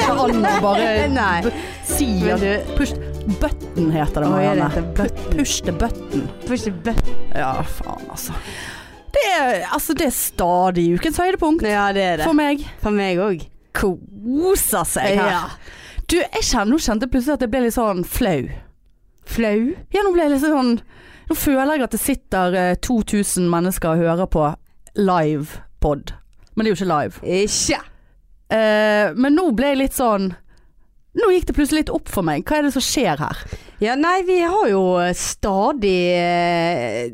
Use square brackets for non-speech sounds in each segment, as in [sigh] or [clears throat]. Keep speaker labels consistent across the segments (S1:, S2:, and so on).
S1: inn og [laughs] bare
S2: Nei.
S1: b- sier
S2: Men du-
S1: Push button heter det,
S2: Å, er det
S1: Marianne.
S2: heter
S1: Pu- Push the button.
S2: Push the button.
S1: Ja, faen altså. Det er, altså, det er stadig ukens høydepunkt
S2: Ja, det er det.
S1: for meg.
S2: For meg òg.
S1: Koser seg her.
S2: Ja.
S1: Du, jeg kjenner, nå kjente jeg plutselig at jeg ble litt sånn flau.
S2: Flau?
S1: Ja, nå ble jeg litt sånn Nå føler jeg at det sitter eh, 2000 mennesker og hører på live pod. Men det er jo ikke live.
S2: Ikke.
S1: Eh, men nå ble jeg litt sånn Nå gikk det plutselig litt opp for meg. Hva er det som skjer her?
S2: Ja, nei, vi har jo eh, stadig eh,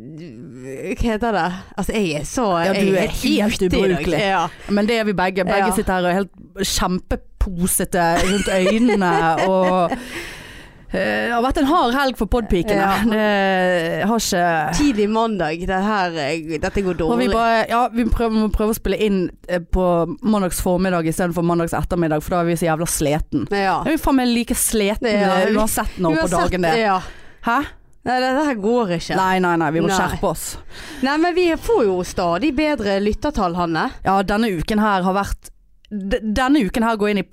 S2: Hva heter det? Altså, jeg er så
S1: Ja, du
S2: jeg
S1: er helt
S2: ute i dag.
S1: ubrukelig.
S2: Ja.
S1: Men det er vi begge. Begge
S2: Ja.
S1: sitter her og er helt kjempeposete rundt øynene og eh, Det har vært en hard helg for podpikene.
S2: Ja.
S1: Det har ikke
S2: Tidlig mandag. Det her, eh, dette går
S1: og vi,
S2: dårlig.
S1: bare, ja, vi prøver, må prøve å spille inn eh, på mandags formiddag istedenfor mandags ettermiddag, for da er vi så jævla sleten.
S2: ja.
S1: Jeg er jo faen meg like sleten
S2: Ja,
S1: eh,
S2: vi-
S1: uansett når på dagen det er.
S2: Ja.
S1: Hæ?
S2: Nei, dette her går ikke. Nei.
S1: Nei, nei, nei, vi må
S2: Nei.
S1: skjerpe oss.
S2: men vi får jo stadig bedre lyttertall, Hanne.
S1: Ja, denne uken her har vært d- Denne uken her går inn i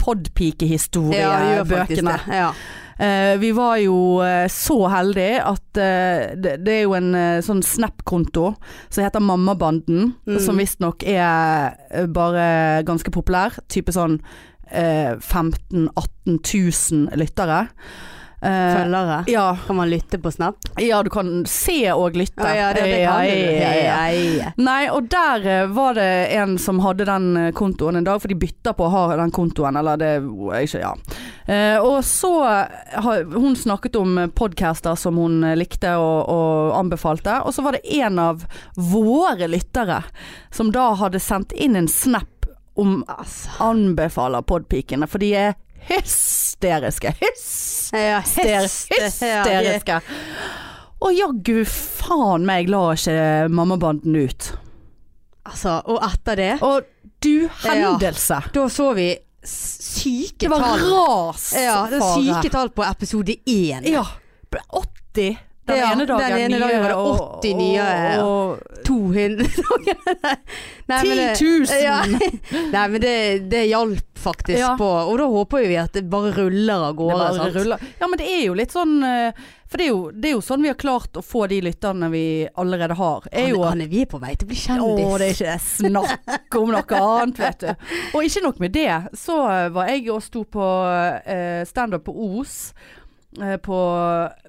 S2: faktisk
S1: podpikehistoriebøkene.
S2: det. Ja.
S1: Eh, vi var jo eh, så heldige at eh, det, det er jo en eh, sånn Snap-konto som heter Mammabanden,
S2: Mm.
S1: som visstnok er eh, bare ganske populær. Type sånn eh, 15 000-18 000 lyttere. Eh,
S2: Følgere.
S1: ja,
S2: Kan man lytte på Snap?
S1: ja, du kan se og lytte.
S2: du.
S1: ja, ja, ja.
S2: ja.
S1: Nei, og der eh, var det en som hadde den eh, kontoen en dag, for de bytta på å ha den kontoen, eller det jeg ikke, ja. Eh, og så har hun snakket om eh, podcaster som hun eh, likte og, og anbefalte, og så var det en av våre lyttere som da hadde sendt inn en snap om
S2: Altså.
S1: anbefaler podpikene, for de er hysteriske. Hysteriske.
S2: Ja, hysterisk.
S1: hysteriske. Og jaggu faen meg la ikke mammabanden ut.
S2: Altså, og etter det
S1: Og du hendelse.
S2: Da så vi s- syke
S1: Det var
S2: tall.
S1: ras.
S2: Ja, det var
S1: Fare.
S2: syke tall på episode én.
S1: Ja. ble 80 den
S2: Ja,
S1: ene dagen.
S2: den ene dagen var det
S1: og-
S2: 80 nye,
S1: Og,
S2: [laughs] 200 Nei, men det-
S1: 10 000!
S2: Ja. [laughs] Nei, men det, det hjalp faktisk
S1: Ja.
S2: på. Og da håper jo vi at det bare ruller av
S1: Det
S2: gårde.
S1: bare
S2: sant?
S1: ruller. Ja, men det er jo litt sånn eh, For det er jo, det er jo sånn vi har klart å få de lytterne vi allerede har. Er jo
S2: Hanne,
S1: at
S2: Hanne, vi er på vei til å bli kjendis.
S1: Å, det er ikke snakk om noe annet, vet du. Og ikke nok med det. Så var jeg og sto på eh, standup på Os eh, på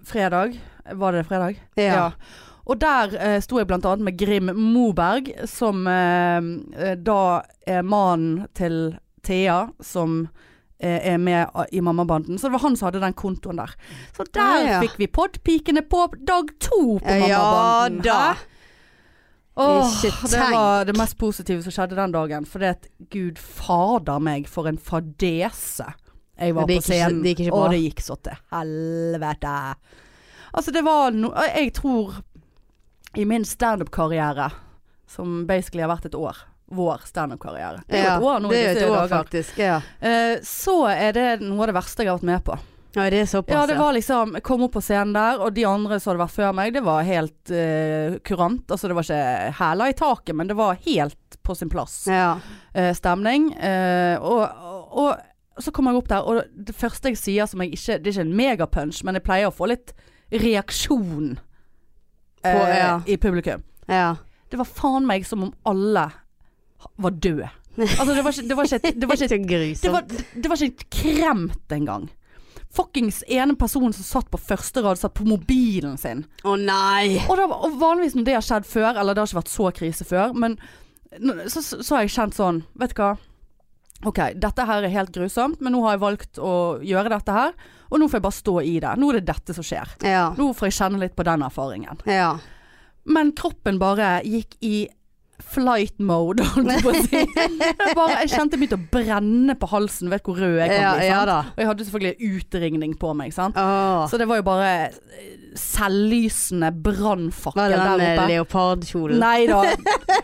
S1: fredag. Var det fredag?
S2: Ja.
S1: Og der eh, sto jeg blant annet med Grim Moberg, som eh, eh, da er mannen til Thea, som eh, er med a- i mammabanden. Så det var han som hadde den kontoen der. Så der
S2: Ah, Ja, ja.
S1: fikk vi podpikene på dag to på
S2: Ja
S1: mammabanden.
S2: da.
S1: Hæ? Åh,
S2: Ikke
S1: det var det mest positive som skjedde den dagen. For det at gud fader meg for en fadese jeg var
S2: Det
S1: på
S2: gikk ikke-
S1: scenen.
S2: det gikk ikke bra.
S1: og det gikk så til helvete. Altså det var no... Jeg tror i min standup-karriere, som basically har vært et år Vår standup-karriere. Det er jo
S2: Ja,
S1: et år nå i
S2: det er jo
S1: disse
S2: et år,
S1: dager.
S2: faktisk. Ja.
S1: Eh, så er det noe av det verste jeg har vært med på.
S2: ja, det er såpass.
S1: Ja, det var liksom Jeg kom opp på scenen der, og de andre som hadde vært før meg, det var helt eh, kurant. Altså, det var ikke hæler i taket, men det var helt på sin plass
S2: ja.
S1: eh, stemning. Eh, og, og, og så kommer jeg opp der, og det første jeg sier som jeg ikke Det er ikke en megapunch, men jeg pleier å få litt reaksjon eh,
S2: På- ja.
S1: i publikum.
S2: ja.
S1: Det var faen meg som om alle var døde. Altså, det var ikke, det var ikke, et- [laughs] det var ikke et
S2: så sånn grusomt.
S1: det var, det var ikke kremt engang. Fuckings ene person som satt på første rad, satt på mobilen sin.
S2: Å nei!
S1: Og, da, og vanligvis når det har skjedd før, eller det har ikke vært så krise før, men n- så, så, så har jeg kjent sånn, vet du hva. Ok, dette her er helt grusomt, men nå har jeg valgt å gjøre dette her, og nå får jeg bare stå i det. Nå er det dette som skjer.
S2: Ja.
S1: Nå får jeg kjenne litt på den erfaringen.
S2: ja.
S1: Men kroppen bare gikk i flight mode, holdt jeg på å
S2: [laughs]
S1: si. Jeg, bare, jeg kjente jeg begynte å brenne på halsen, vet hvor rød jeg liksom? kan
S2: Ja,
S1: bli.
S2: ja
S1: sant?
S2: da.
S1: Og jeg hadde selvfølgelig utringning på meg, sant.
S2: Åh.
S1: Så det var jo bare eh, selvlysende
S2: Var
S1: brannfakkel
S2: det den
S1: der
S2: eh,
S1: oppe.
S2: leopardkjolen?
S1: Nei
S2: [laughs]
S1: da.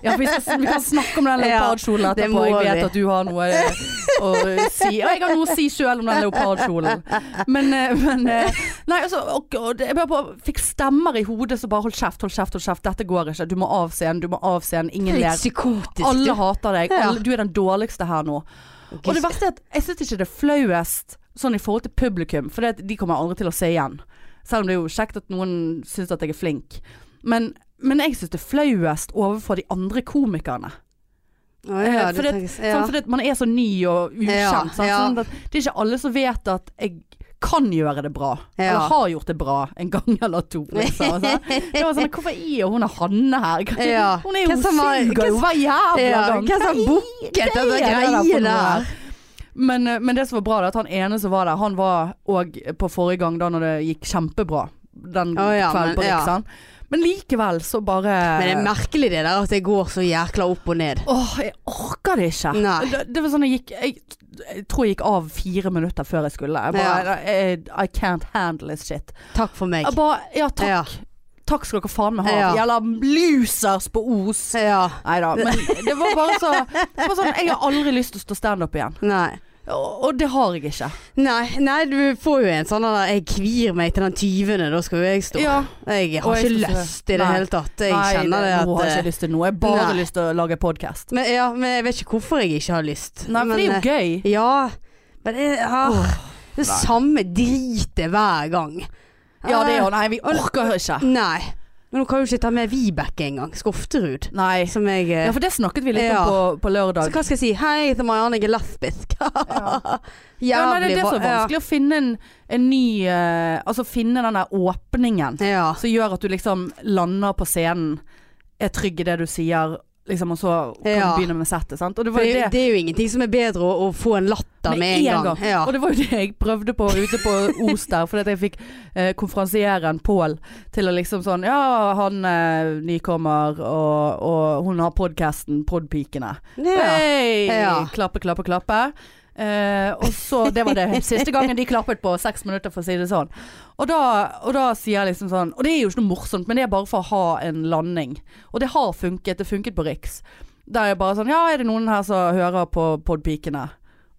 S1: Ja, vi, skal, vi kan snakke om den
S2: Ja,
S1: leopardkjolen
S2: det
S1: etterpå.
S2: må
S1: Jeg
S2: vi.
S1: vet at du har noe eh, å si. Og jeg har noe å si sjøl om den leopardkjolen. Men, eh, men eh, Nei, altså, og, og det- jeg bare, bare fikk stemmer i hodet som bare hold kjeft, hold kjeft, hold kjeft. Dette går ikke. Du må av scenen, du må av scenen. Ingen ler.
S2: Litt psykotisk.
S1: Alle
S2: du.
S1: hater deg.
S2: Ja.
S1: Alle, du er den dårligste her nå. Og det verste er at jeg syns ikke det er flauest sånn i forhold til publikum, for det, at de kommer jeg aldri til å se igjen. Selv om det er jo kjekt at noen syns at jeg er flink. Men, men jeg syns det er flauest overfor de andre komikerne.
S2: Å, ja,
S1: Eh,
S2: du
S1: for det-
S2: tenker-
S1: Sånn, fordi at man er så ny og ukjent.
S2: Ja,
S1: sant?
S2: ja.
S1: Sånn at det er ikke alle som vet at jeg kan gjøre det bra.
S2: Ja.
S1: Eller har gjort det bra en gang eller to. Liksom, altså. Det
S2: [laughs]
S1: var sånn, Hvorfor er hun og Hanne her? Hva-
S2: Ja.
S1: Hun er jo
S2: Hvem som har-
S1: suger jo
S2: hvem-
S1: hver jævla
S2: ja,
S1: gang.
S2: hvem som
S1: Hva i-
S2: booket
S1: hva er det
S2: denne
S1: der for
S2: greien
S1: noe
S2: her?
S1: her? Men, eh, men det som var bra, det er at han ene som var der, han var òg på forrige gang da når det gikk kjempebra. Den
S2: Å, ja,
S1: kvelden på
S2: men- ja.
S1: Riksan. Men likevel så bare
S2: Men det er merkelig det der at det går så jækla opp og ned.
S1: Åh, jeg orker det ikke.
S2: Nei.
S1: Det, det var sånn jeg gikk jeg, jeg tror jeg gikk av fire minutter før jeg skulle. Jeg bare I, I can't handle this shit.
S2: Takk for meg.
S1: Jeg bare Ja, takk.
S2: Ja.
S1: Takk skal dere faen meg ha.
S2: Ja.
S1: Jævla losers på Os.
S2: ja.
S1: Nei da, men det var bare så det var sånn, Jeg har aldri lyst til å stå standup igjen.
S2: Nei.
S1: Og, og det har jeg ikke.
S2: Nei, nei, du får jo en sånn der Jeg kvir meg til den tyvende, da skal jo jeg stå.
S1: Ja,
S2: Jeg
S1: Og
S2: har
S1: jeg
S2: ikke
S1: skal stå.
S2: lyst i det
S1: Nei.
S2: hele tatt. Jeg
S1: nei,
S2: kjenner det
S1: nå har jeg
S2: at
S1: ikke lyst til noe. Jeg har bare
S2: Nei.
S1: lyst til å lage podkast.
S2: men, ja, men jeg vet ikke hvorfor jeg ikke har lyst.
S1: Nei, for
S2: men,
S1: det er jo gøy.
S2: eh, Ja, men det er ah, Det
S1: nei.
S2: samme dritet hver gang.
S1: Ja, det er jo
S2: Eh,
S1: Nei, vi orker ikke.
S2: Nei. Men nå kan jeg jo ikke ta med Vibeke engang. Skofterud.
S1: Nei.
S2: Som jeg eh,
S1: Ja, for det snakket vi litt
S2: Ja.
S1: om på, på lørdag.
S2: Så hva skal jeg si? Hei, jeg heter Marianne Gillespie.
S1: [laughs] Ja.
S2: Jævlig
S1: Ja, nei, det er det
S2: bra.
S1: som er vanskelig. Å finne en, en ny eh, Altså finne den der åpningen
S2: Ja. ja.
S1: som gjør at du liksom lander på scenen, er trygg i det du sier, liksom, og så kan
S2: Ja.
S1: du begynne med settet. Sant? Og det var
S2: For
S1: jo
S2: det,
S1: det.
S2: det er jo ingenting som er bedre å, å få en latter med en gang. Ja.
S1: Og det var jo det jeg prøvde på ute på Os der, fordi at jeg fikk eh, konferansieren Pål til å liksom sånn Ja, han eh, nykommer, og, og hun har podkasten Podpikene.
S2: Ja.
S1: Hei!
S2: Ja.
S1: Klappe, klappe, klappe. Eh, og så, Det var det siste gangen de klappet på seks minutter, for å si det sånn. Og da, og da sier jeg liksom sånn Og det er jo ikke noe morsomt, men det er bare for å ha en landing. Og det har funket. Det funket på Riks. Der er jeg bare sånn Ja, er det noen her som hører på Podpikene?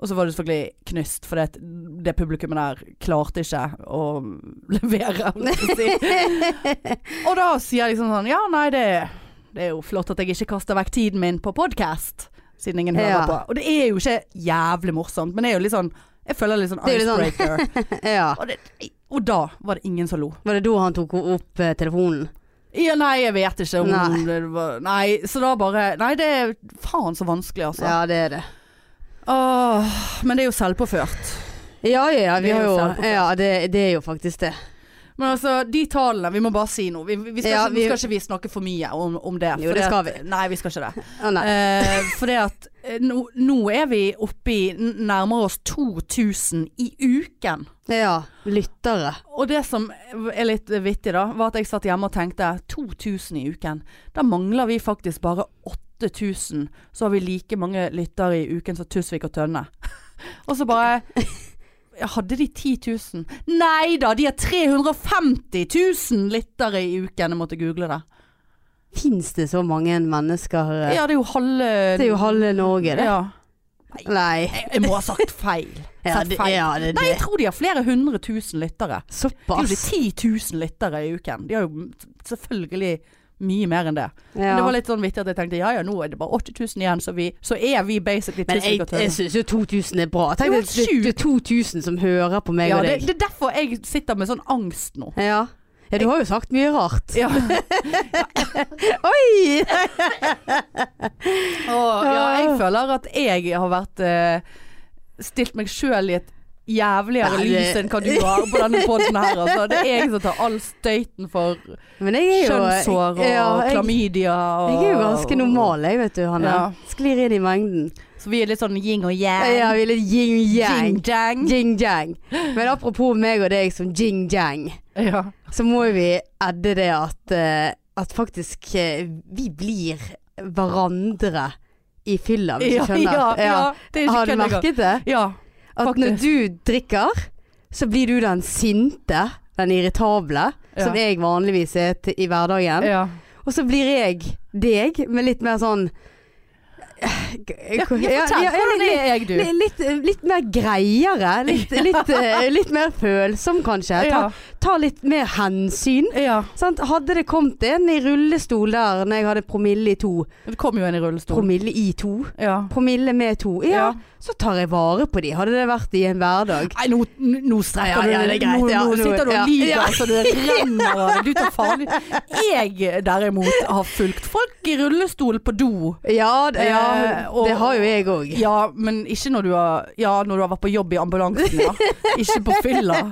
S1: Og så var det selvfølgelig knust, for det, det publikummet der klarte ikke å [laughs] levere. holdt jeg på å Si.
S2: [laughs]
S1: Og da sier jeg liksom sånn Ja, nei, det, det er jo flott at jeg ikke kaster vekk tiden min på podkast. Siden ingen hører
S2: Ja.
S1: på. Og det er jo ikke jævlig morsomt, men det er jo litt sånn Jeg føler litt sånn
S2: Det er jo litt
S1: icebreaker.
S2: [laughs] ja.
S1: og, det, og da var det ingen som lo.
S2: Var det da han tok opp eh, telefonen?
S1: Ja, nei, jeg vet ikke om
S2: Nei.
S1: det var Nei, så da bare Nei, det er faen så vanskelig, altså.
S2: Ja, det er det.
S1: Åh, men det er jo selvpåført.
S2: Ja, ja, ja,
S1: Det
S2: vi
S1: er
S2: har
S1: jo
S2: jo
S1: selvpåført.
S2: Ja, det, det er jo faktisk det.
S1: Men altså, de tallene Vi må bare si noe. Vi, vi skal,
S2: Ja,
S1: ikke,
S2: vi-
S1: nå skal ikke vi snakke for mye om, om det.
S2: Jo,
S1: for
S2: det skal
S1: at- Nei, vi skal ikke det.
S2: Å nei.
S1: Eh, for det at eh, nå, nå er vi oppe i n- nærmere oss 2000 i uken.
S2: Ja. Lyttere.
S1: Og det som er litt vittig da, var at jeg satt hjemme og tenkte 2000 i uken. Da mangler vi faktisk bare 8000. Så har vi like mange lyttere i uken som Tusvik og Tønne. [laughs] Og så bare ja, Hadde de 10 000? Nei da, de har 350 000 lyttere i uken. Jeg måtte google det.
S2: Fins det så mange mennesker eh?
S1: Ja, det er jo halve
S2: Det er jo halve Norge, det.
S1: Ja.
S2: Nei.
S1: Jeg, jeg må ha sagt feil.
S2: [laughs] Ja,
S1: Sagt
S2: det,
S1: feil.
S2: ja, det,
S1: Nei,
S2: det.
S1: jeg tror de har flere hundre tusen lyttere. Det er jo de
S2: Såpass.
S1: 10 000 lyttere i uken. De har jo selvfølgelig mye mer enn det. Men det
S2: Ja.
S1: var litt sånn vittig at jeg tenkte ja ja, nå er det bare 8000 igjen, så, vi, så er vi basically
S2: Men jeg,
S1: 1000
S2: jeg
S1: lyttere.
S2: syns jo 2000 er bra. Tenk
S1: Jo,
S2: deg det, det er 2000 som hører på meg
S1: Ja,
S2: og
S1: det,
S2: deg.
S1: det er derfor jeg sitter med sånn angst nå.
S2: Ja. ja, du har jo sagt mye rart.
S1: Ja.
S2: Oi!
S1: Og, [laughs] ja, jeg føler at jeg har vært eh, stilt meg sjøl i et jævligere
S2: Nei, det-
S1: lys enn hva du har på denne podden her. Altså. Det er jeg som tar all støyten for
S2: Men jeg er jo
S1: kjønnshår og
S2: Ja, jeg-
S1: klamydia og
S2: Jeg er jo ganske normal, jeg, vet du, Hanne.
S1: Ja.
S2: Sklir inn i mengden.
S1: Så vi er litt sånn yin og
S2: Ja,
S1: yang.
S2: jeg vil
S1: Jing
S2: jing-yang.
S1: jang.
S2: Jing-jang. Men apropos meg og deg som jing-jang,
S1: Ja.
S2: så må vi edde det at, eh, at faktisk eh, vi blir hverandre i fylla, hvis
S1: Ja,
S2: du skjønner.
S1: ja,
S2: Ja.
S1: ja, det er ikke
S2: Har du
S1: kødd engang.
S2: merket det?
S1: Ja.
S2: At når
S1: Faktisk.
S2: du drikker, så blir du den sinte, den irritable,
S1: Ja.
S2: som jeg vanligvis er til, i hverdagen.
S1: ja.
S2: Og så blir jeg deg, med litt mer sånn
S1: Ja,
S2: Hvor-
S1: ja, fortell,
S2: ja, ja,
S1: hvordan
S2: litt-
S1: er jeg, du?
S2: litt, litt, litt mer greiere. Litt,
S1: [laughs]
S2: litt, eh, litt mer følsom, kanskje. Ta,
S1: Ja.
S2: ta litt mer hensyn.
S1: ja.
S2: Sant? Hadde det kommet en i rullestol der når jeg hadde promille i to
S1: Det kom jo en i rullestol.
S2: Promille i to?
S1: Ja.
S2: Promille med to. Ja,
S1: Ja.
S2: så tar jeg vare på de. Hadde det vært i en hverdag.
S1: Nei, nå, nå streker
S2: Ja, ja,
S1: du-
S2: det er greit,
S1: nå,
S2: ja,
S1: nå
S2: nå-
S1: sitter du
S2: ja.
S1: og lyver
S2: Ja.
S1: så du renner av deg. Du tar [laughs] faen Jeg derimot har fulgt folk i rullestol på do.
S2: Ja, det, ja
S1: Eh, og-
S2: det har jo jeg òg.
S1: Ja, men ikke når du har, ja, når du har vært på jobb i ambulansen, ja. Ikke på fylla.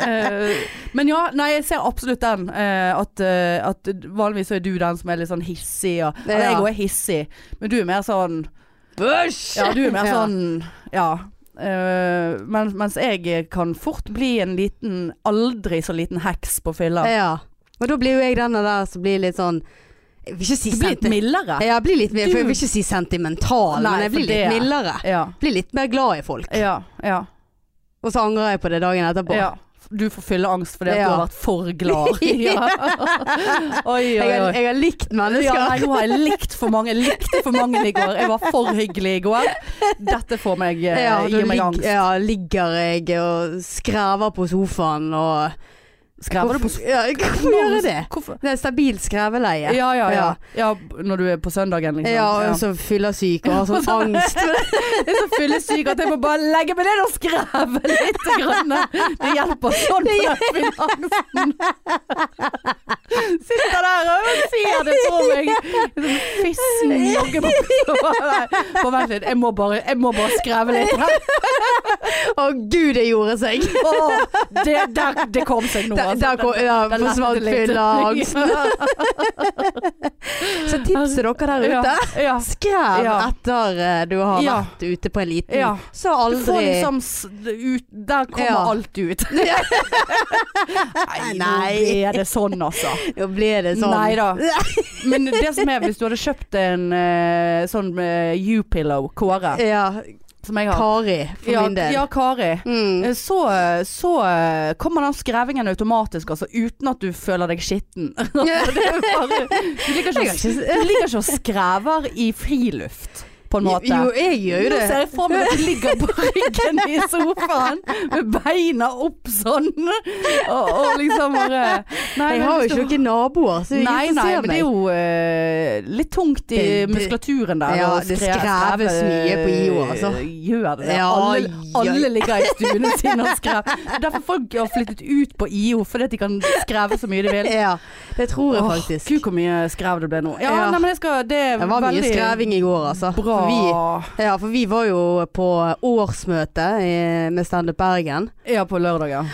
S1: Eh, men ja, nei, jeg ser absolutt den. eh, at, eh, at vanligvis så er du den som er litt sånn hissig. Og, eller jeg
S2: Ja.
S1: òg er hissig, men du er mer sånn
S2: Bæsj!
S1: Ja, du er mer
S2: [laughs] Ja.
S1: sånn Ja. Eh, mens, mens jeg kan fort bli en liten, aldri så liten heks på fylla.
S2: Ja. Men da blir jo jeg den der som blir litt sånn Jeg vil ikke si
S1: Du blir litt
S2: senti-
S1: mildere.
S2: Ja, jeg blir litt, for jeg
S1: Du-
S2: vil ikke si sentimental,
S1: Nei,
S2: men jeg
S1: for
S2: blir litt
S1: det-
S2: mildere.
S1: Ja.
S2: Blir litt mer glad i folk.
S1: Ja. ja,
S2: Og så angrer jeg på det dagen etterpå.
S1: ja. Du får fylleangst fordi at
S2: Ja.
S1: du har vært for
S2: [laughs]
S1: glad. Ja. Oi,
S2: Jeg,
S1: oi,
S2: har,
S1: oi.
S2: jeg har likt
S1: Ja,
S2: mennesker.
S1: nei, nå har jeg likt for mange. Jeg likte for mange i går. Jeg var for hyggelig i går. Dette får meg, eh,
S2: Ja, da
S1: gir meg
S2: ligg-
S1: angst.
S2: ja, ligger jeg og skrever på sofaen og
S1: Skrever du på
S2: Hvorfor- Ja, jeg kan gjøre det.
S1: Hvorfor?
S2: Det er stabil skreveleie.
S1: Ja, ja, ja, ja.
S2: Ja.
S1: Når du er på søndagen, liksom.
S2: Ja, og så fyllesyk og har
S1: [laughs]
S2: sånn angst.
S1: Jeg er så fyllesyk at jeg må bare legge meg ned og skreve litt. Grann. Det hjelper sånn på den finansen. Sitter der og sier det på meg. Fissen jogger på Bare vent litt, jeg må bare, jeg må bare skreve litt. her.
S2: Å gud, det gjorde seg.
S1: Åh, det, der, det kom seg
S2: [laughs]
S1: altså. nå.
S2: Der, der kom ja,
S1: Den lette
S2: forsvant
S1: litt. [laughs]
S2: fylleangsten. [laughs] Så tips til dere der ute.
S1: Ja, Altså, ja.
S2: Skrev
S1: Ja.
S2: etter eh, du har
S1: Ja.
S2: vært ute på en liten
S1: Ja.
S2: Så
S1: Du får
S2: aldri
S1: liksom s- ut, Der kommer
S2: [laughs] Ja.
S1: alt ut. Nei, nå
S2: Nei.
S1: ble det sånn, altså.
S2: Jo, ble det sånn.
S1: Nei
S2: [laughs]
S1: da. Men det som er, hvis du hadde kjøpt en eh, sånn eh, U-pillow, Kåre,
S2: Ja,
S1: som jeg har
S2: Kari, for
S1: ja,
S2: min del.
S1: ja, Kari.
S2: Mm.
S1: [laughs] eh, Så, så eh, kommer den skrevingen automatisk, altså, uten at du føler deg skitten. [laughs] Altså, det er bare- du liker ikke,
S2: Jeg har
S1: å- du liker ikke å skrever i friluft, på en måte.
S2: Jo, jeg gjør jo
S1: Nå
S2: det.
S1: ser jeg for meg at du ligger på ryggen i sofaen med beina opp sånn, og, og liksom bare Nei,
S2: Jeg
S1: men
S2: har
S1: hvis
S2: jo
S1: du-
S2: ikke noen naboer, så det er
S1: Nei,
S2: ingen som
S1: nei,
S2: ser
S1: men det er
S2: meg.
S1: jo eh, litt tungt i
S2: Det- det-
S1: muskulaturen der.
S2: Ja,
S1: å
S2: det
S1: skre-
S2: skreves
S1: skreve-
S2: mye på IO, altså.
S1: Gjør det det?
S2: Ja,
S1: alle,
S2: ja.
S1: alle ligger i stuene sine og skrever. Derfor folk har flyttet ut på IO, fordi at de kan skreve så mye de vil.
S2: Ja, det tror jeg
S1: Åh,
S2: faktisk.
S1: Gud, hvor mye skrev det ble nå. Ja,
S2: Ja.
S1: Nei, men jeg skal, det er
S2: Det var mye
S1: veldig
S2: skreving i går, altså.
S1: bra.
S2: For vi, ja, for vi var jo på årsmøte i- med Standup Bergen.
S1: Ja, på lørdag, ja.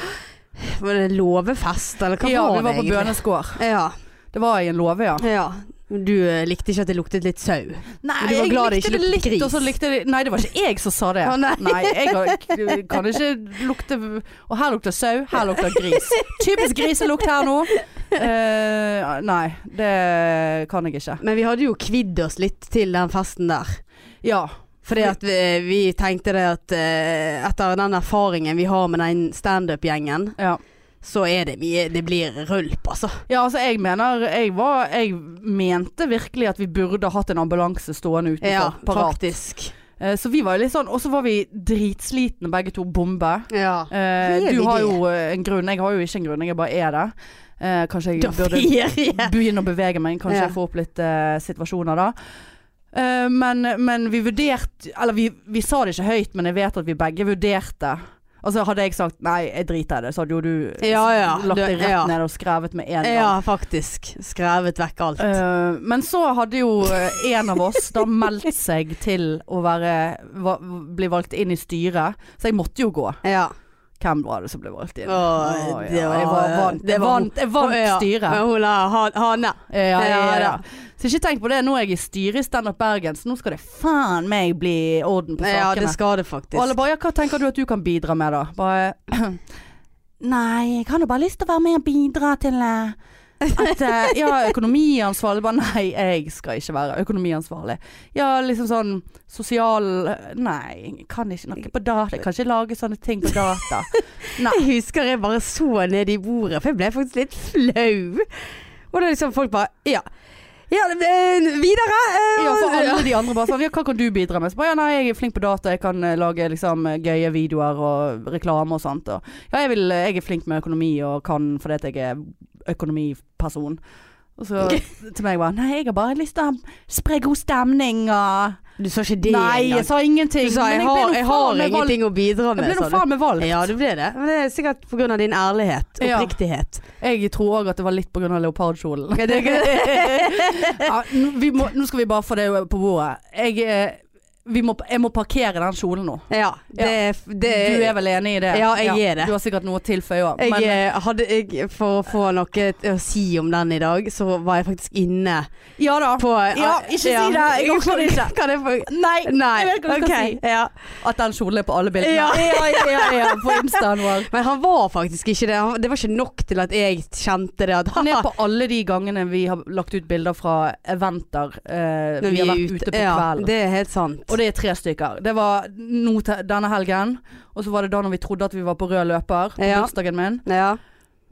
S2: Var det låvefest, eller hva
S1: ja,
S2: var det
S1: vi var på
S2: egentlig?
S1: Bøneskår.
S2: Ja,
S1: Det var i en låve, ja.
S2: ja. Men Du eh, likte ikke at det luktet litt sau?
S1: Nei,
S2: Men du var glad det ikke luktet gris.
S1: og så likte det Nei, det var ikke jeg som sa det.
S2: Å, nei.
S1: jeg har- kan ikke lukte Og her lukter sau, her lukter gris. Typisk griselukt her nå. Eh, nei, det kan jeg ikke.
S2: Men vi hadde jo kvidd oss litt til den festen der.
S1: Ja.
S2: Fordi at vi, vi tenkte det at eh, etter den erfaringen vi har med den standup-gjengen,
S1: ja.
S2: så er det mye Det blir rølp, altså.
S1: Ja, altså jeg mener jeg, var, jeg mente virkelig at vi burde hatt en ambulanse stående utenfor.
S2: Ja,
S1: parat.
S2: faktisk.
S1: Eh, så vi var jo litt sånn Og så var vi dritslitne begge to. Bombe.
S2: Ja.
S1: Eh,
S2: Hva er
S1: du
S2: vi
S1: har
S2: det?
S1: jo eh, en grunn, jeg har jo ikke en grunn, jeg bare er det. Eh, kanskje jeg
S2: Da
S1: burde
S2: ferie!
S1: [laughs] begynne å bevege meg, kanskje
S2: Ja.
S1: jeg får opp litt eh, situasjoner da. Eh, men, men vi vurderte Eller vi, vi sa det ikke høyt, men jeg vet at vi begge vurderte. Altså Hadde jeg sagt 'nei, jeg driter i det', så hadde jo du
S2: Ja, ja.
S1: lagt
S2: Du-
S1: deg rett
S2: ja.
S1: ned og skrevet med en gang.
S2: [laughs] Ja, faktisk. Skrevet vekk alt.
S1: Eh, men så hadde jo eh, en av oss da meldt seg til å være, va, bli valgt inn i styret, så jeg måtte jo gå.
S2: Ja.
S1: Hvem var det som ble valgt inn?
S2: Å,
S1: Å,
S2: det
S1: ja.
S2: var-
S1: Jeg var vant,
S2: det
S1: jeg
S2: var-
S1: vant, jeg vant
S2: Ja,
S1: styret.
S2: men Hun la han- Hanne.
S1: Ja, ja, ja,
S2: Ja,
S1: ja.
S2: da.
S1: Så ikke tenk på det, nå er jeg i styret i Standup Bergen, så nå skal det faen meg bli orden på
S2: Ja,
S1: sakene.
S2: det skal det
S1: Og alle
S2: faktisk.
S1: bare ja, hva tenker du at du kan bidra med da? Bare [clears throat] Nei, jeg har jo bare lyst til å være med og bidra til eh, at eh,
S2: [laughs]
S1: Ja, økonomiansvarlig. Bare nei, jeg skal ikke være økonomiansvarlig. Ja, liksom sånn sosial eh, Nei, jeg kan ikke noe på data. Jeg kan ikke lage sånne ting på data.
S2: Jeg husker jeg bare så ned i bordet, for jeg ble faktisk litt flau. Og da liksom folk bare Ja. Ja, eh, videre! eh,
S1: Ja, for alle
S2: ja.
S1: de andre bare sånn Ja, hva kan du bidra med? Så bare ja, nei, jeg er flink på data, jeg kan eh, lage liksom eh, gøye videoer og reklame og sånt. Og, ja, jeg, vil, eh, jeg er flink med økonomi og kan fordi at jeg er økonomiperson. Og så til meg bare Nei, jeg har bare lyst til å spre god stemning og
S2: Du sa ikke det
S1: Nei, jeg
S2: engang.
S1: sa ingenting.
S2: Du sa
S1: men
S2: jeg
S1: ble
S2: har,
S1: nå
S2: jeg
S1: faen
S2: har
S1: meg valgt-
S2: ingenting å bidra med,
S1: Jeg ble nå
S2: sa du.
S1: faen meg valgt.
S2: Ja, du ble det. Men det er sikkert pga. din ærlighet.
S1: Ja. [laughs]
S2: Oppriktighet.
S1: Jeg tror òg at det var litt pga. leopardkjolen.
S2: Er det
S1: [laughs] ja, nå, vi må, nå skal vi bare få det på bordet. Jeg, eh, vi må, jeg må parkere den kjolen nå.
S2: [laughs] Ja, det, det
S1: Du er vel enig i det?
S2: Ja, jeg er det.
S1: Du har sikkert noe å tilføye òg.
S2: jeg,
S1: Men
S2: eh, hadde, jeg, for å få noe t- å si om den i dag, så var jeg faktisk inne
S1: ja da.
S2: på eh,
S1: Ja, ikke si det. Jeg orker det ikke.
S2: [laughs] Kan jeg få
S1: Nei,
S2: Nei.
S1: jeg vet hva du skal
S2: ok, Ja.
S1: si. At den kjolen er på alle bildene.
S2: Ja.
S1: ja, ja, ja, ja, på instaen
S2: [laughs]
S1: vår.
S2: Men han var faktisk ikke det. Han, det var ikke nok til at jeg kjente det. At,
S1: Han
S2: [laughs]
S1: er på alle de gangene vi har lagt ut bilder fra eventer eh, vi, har vært ute på
S2: ja,
S1: kvelden.
S2: Det er helt sant.
S1: Og det er tre stykker. Det var nå te- denne helgen, og så var det da når vi trodde at vi var på rød løper, på
S2: Ja.
S1: bursdagen min.
S2: ja,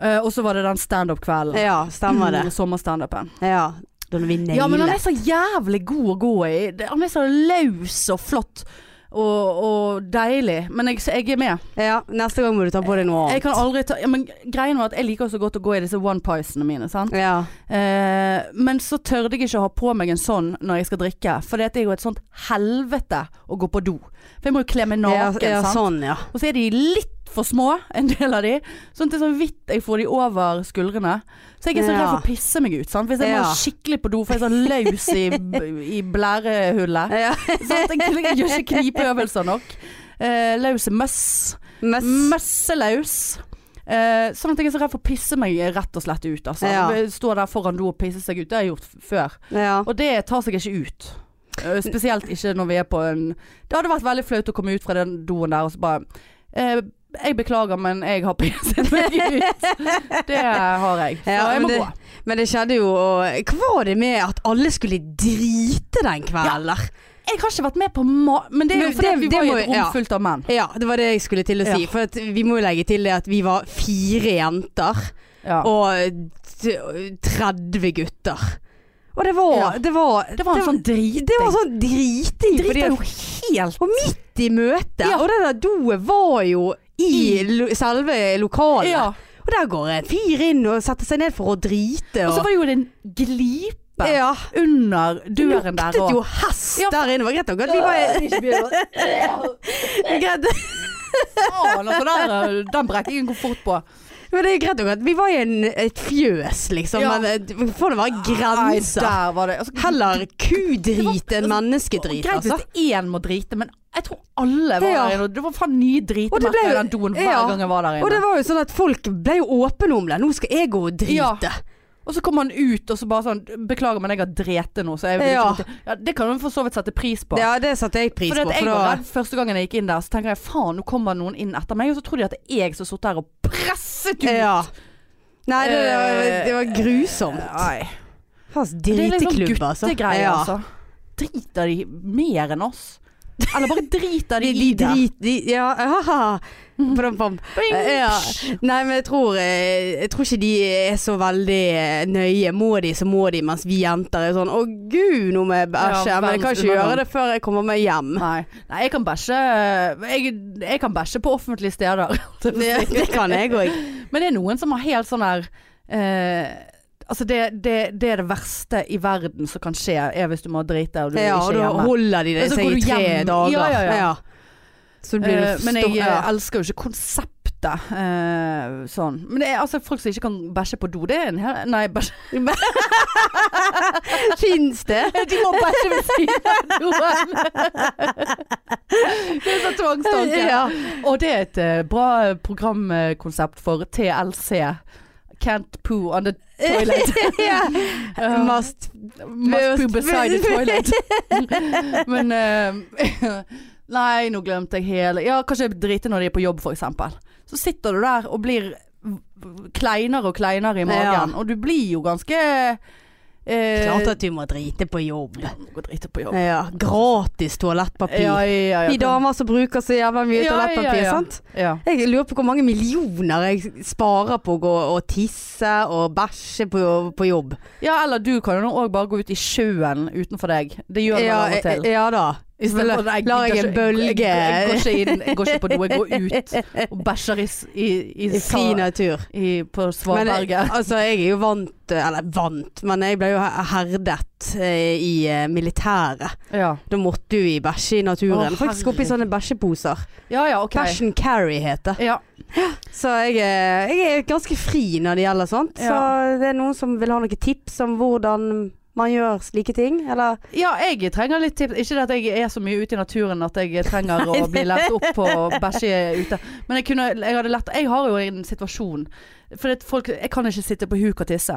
S1: Eh, og så var det den standup-kvelden.
S2: ja, stemmer det.
S1: Mm, Sommerstandupen.
S2: Ja. Da når vi nailet.
S1: Ja, men han er så jævlig god å gå i. Det- Han er så løs og flott. Og, og deilig. Men jeg, så jeg er med.
S2: ja, neste gang må du ta på deg noe
S1: Jeg
S2: annet.
S1: kan aldri ta ja, men Greien var at jeg liker så godt å gå i disse one piesene mine. Sant?
S2: Ja.
S1: Eh, men så tørde jeg ikke å ha på meg en sånn når jeg skal drikke. For det er jo et sånt helvete å gå på do. For jeg må jo kle meg naken.
S2: ja, ja,
S1: sant?
S2: sånn, ja.
S1: Og så er de litt for små, en del av de. Sånn at det er så vidt jeg får de over skuldrene. Så jeg er så
S2: Ja.
S1: redd for å pisse meg ut. Sant? Hvis jeg
S2: Ja.
S1: må skikkelig på do, for jeg er så løs i, i blærehullet.
S2: ja.
S1: Så at jeg, jeg gjør ikke knipeøvelser nok. Eh, løs i møss.
S2: Mess.
S1: Møsselaus. Eh, sånn at jeg er så redd for å pisse meg rett og slett ut. Altså.
S2: Ja.
S1: Stå der foran do og pisse seg ut. Det har jeg gjort f- før.
S2: Ja.
S1: Og det tar seg ikke ut. Eh, Spesielt ikke når vi er på en Det hadde vært veldig flaut å komme ut fra den doen der og så bare eh, Jeg beklager, men jeg har pisset meg ut. Det har jeg. Så
S2: Ja,
S1: jeg
S2: men
S1: må
S2: det-
S1: gå.
S2: Men det skjedde jo og Hva var det med at alle skulle drite
S1: Ja.
S2: den kvelden? der?
S1: Jeg har ikke vært med på ma... Men det er jo
S2: Men
S1: fordi
S2: det-
S1: at vi
S2: det
S1: var i
S2: må
S1: et
S2: jo-
S1: rom
S2: ja.
S1: fullt av menn.
S2: Ja, det var det jeg skulle til å si. For at vi må jo legge til det at vi var fire jenter
S1: Ja.
S2: og t- 30 gutter. Og det var
S1: Ja.
S2: Det var,
S1: Det var en sånn driting.
S2: det var sånn driting.
S1: Driter
S2: fordi at-
S1: jo helt
S2: Og midt i møtet.
S1: Ja.
S2: Og det der doet var jo i
S1: I-
S2: lo selve lokalet.
S1: ja.
S2: Og der går en fyr inn og setter seg ned for å drite.
S1: Og så var det jo en glipe
S2: ja.
S1: under døren der
S2: luktet
S1: òg.
S2: jo hest
S1: Ja, for-
S2: der inne. Det var greit nok at
S1: [laughs]
S2: vi var Det er greit-
S1: altså, eh, Den brekker jeg en fort på.
S2: Men det er greit nok at vi var i en, et fjøs, liksom.
S1: Ja.
S2: Men eh, får det være
S1: Nei,
S2: grenser.
S1: der var det. Altså,
S2: Heller kudrit enn
S1: Det var-
S2: menneskedrit,
S1: Greit
S2: altså.
S1: hvis én må drite, men jeg tror alle var
S2: Ja.
S1: der inne. og Det var faen nye
S2: Og det ble
S1: dritmerker i
S2: jo-
S1: den doen hver
S2: ja.
S1: gang jeg var der
S2: Og det
S1: inne.
S2: var jo sånn at folk ble jo åpne om det. Nå skal jeg gå og
S1: Ja.
S2: drite.
S1: Og så kom han ut og så bare sånn 'Beklager, men jeg har drete nå.' Så jeg vil liksom ikke
S2: Ja.
S1: måtte- ja, det kan hun for så vidt sette pris på.
S2: Ja, det satte jeg pris
S1: Fordi
S2: på.
S1: at jeg
S2: For
S1: var
S2: da
S1: redd første gangen jeg gikk inn der, så tenker jeg faen, nå kommer noen inn etter meg. Og så tror de at det er jeg som har sittet her og presset ut.
S2: Ja. Nei, det, det, var, det var grusomt.
S1: Nei.
S2: Hans
S1: Eh, Det er litt sånn
S2: driteklubb, altså.
S1: guttegreier,
S2: Ja.
S1: altså. Driter de mer enn oss? Eller bare driter de,
S2: De,
S1: i
S2: de
S1: det?
S2: drit... De, ja, [laughs] haha. Prom, prom.
S1: Bing!
S2: Ja. Nei, men jeg tror, eh, jeg tror ikke de er så veldig eh, nøye. Må de, så må de. Mens vi jenter er sånn Å gud, nå må jeg bæsje.
S1: Ja,
S2: men jeg kan
S1: verdens
S2: ikke
S1: undergang.
S2: gjøre det før jeg kommer meg
S1: [laughs]
S2: hjem.
S1: Nei, Nei jeg kan bæsje eh, jeg, jeg kan bæsje på offentlige steder. [laughs]
S2: Det, det kan jeg òg.
S1: Men det er noen som har helt sånn der eh, Altså det, det, det er det verste i verden som kan skje, er hvis du må drite og [laughs] du
S2: Ja, og
S1: ikke er
S2: da
S1: hjemme.
S2: holder de det
S1: Men så går
S2: seg i
S1: du
S2: tre
S1: hjem.
S2: dager.
S1: Ja, ja, ja.
S2: Så det blir
S1: Eh,
S2: du
S1: men jeg
S2: stor-
S1: eh,
S2: ja. [laughs]
S1: elsker jo ikke konseptet eh, sånn. Men det er altså folk som ikke kan bæsje på do, det er en hel Nei, bæsje
S2: Fins det?
S1: [laughs] De må bæsje ved siden av [laughs] doen! det er sånn tvangstanke.
S2: [laughs] Ja.
S1: Og det er et eh, bra programkonsept for TLC. Can't poo on the toilet. [laughs]
S2: ja.
S1: Um,
S2: Must
S1: Must poo beside the [laughs] toilet. Men eh, [laughs] Nei, nå glemte jeg hele Ja, kanskje drite når de er på jobb, for eksempel. Så sitter du der og blir v- v- kleinere og kleinere i magen. Og du blir jo ganske eh,
S2: Klart at du må drite på jobb.
S1: Gå og drite på jobb.
S2: Ja, gratis toalettpapir.
S1: Ja, ja, ja.
S2: Vi damer som bruker så jævla mye
S1: Ja,
S2: toalettpapir,
S1: ja, ja.
S2: sant?
S1: Ja.
S2: Jeg lurer på hvor mange millioner jeg sparer på å gå og tisse og bæsje på, på jobb.
S1: ja, eller du kan jo nå òg bare gå ut i sjøen utenfor deg. Det gjør du
S2: Ja,
S1: vel av og til.
S2: ja da.
S1: I stedet
S2: La-
S1: for- nei,
S2: lar
S1: gidder
S2: jeg en
S1: ikke-
S2: bølge-
S1: Jeg, går ikke inn, jeg går ikke på do, [laughs] jeg går ut og bæsjer i, s- i, i, eh,
S2: I
S1: sa-
S2: fri natur.
S1: i, på
S2: Men
S1: Svalberget.
S2: altså, jeg er jo vant eh, Eller vant, men jeg ble jo her- herdet eh, i eh, militæret.
S1: Ja.
S2: Da måtte du i bæsje i naturen.
S1: Å,
S2: Faktisk oppi
S1: herregud.
S2: sånne bæsjeposer.
S1: ja ja, ok.
S2: Cash and carry heter det.
S1: Ja.
S2: Så jeg, er- jeg er ganske fri når det gjelder sånt.
S1: Ja.
S2: Så det er noen som vil ha noen tips om hvordan man gjør slike ting, eller?
S1: ja, jeg trenger litt tips. Ikke det at jeg er så mye ute i naturen at jeg trenger å bli lært opp på å bæsje ute. Men jeg, kunne, jeg hadde lært Jeg har jo en situasjon. For det, folk, jeg kan ikke sitte på huk og tisse.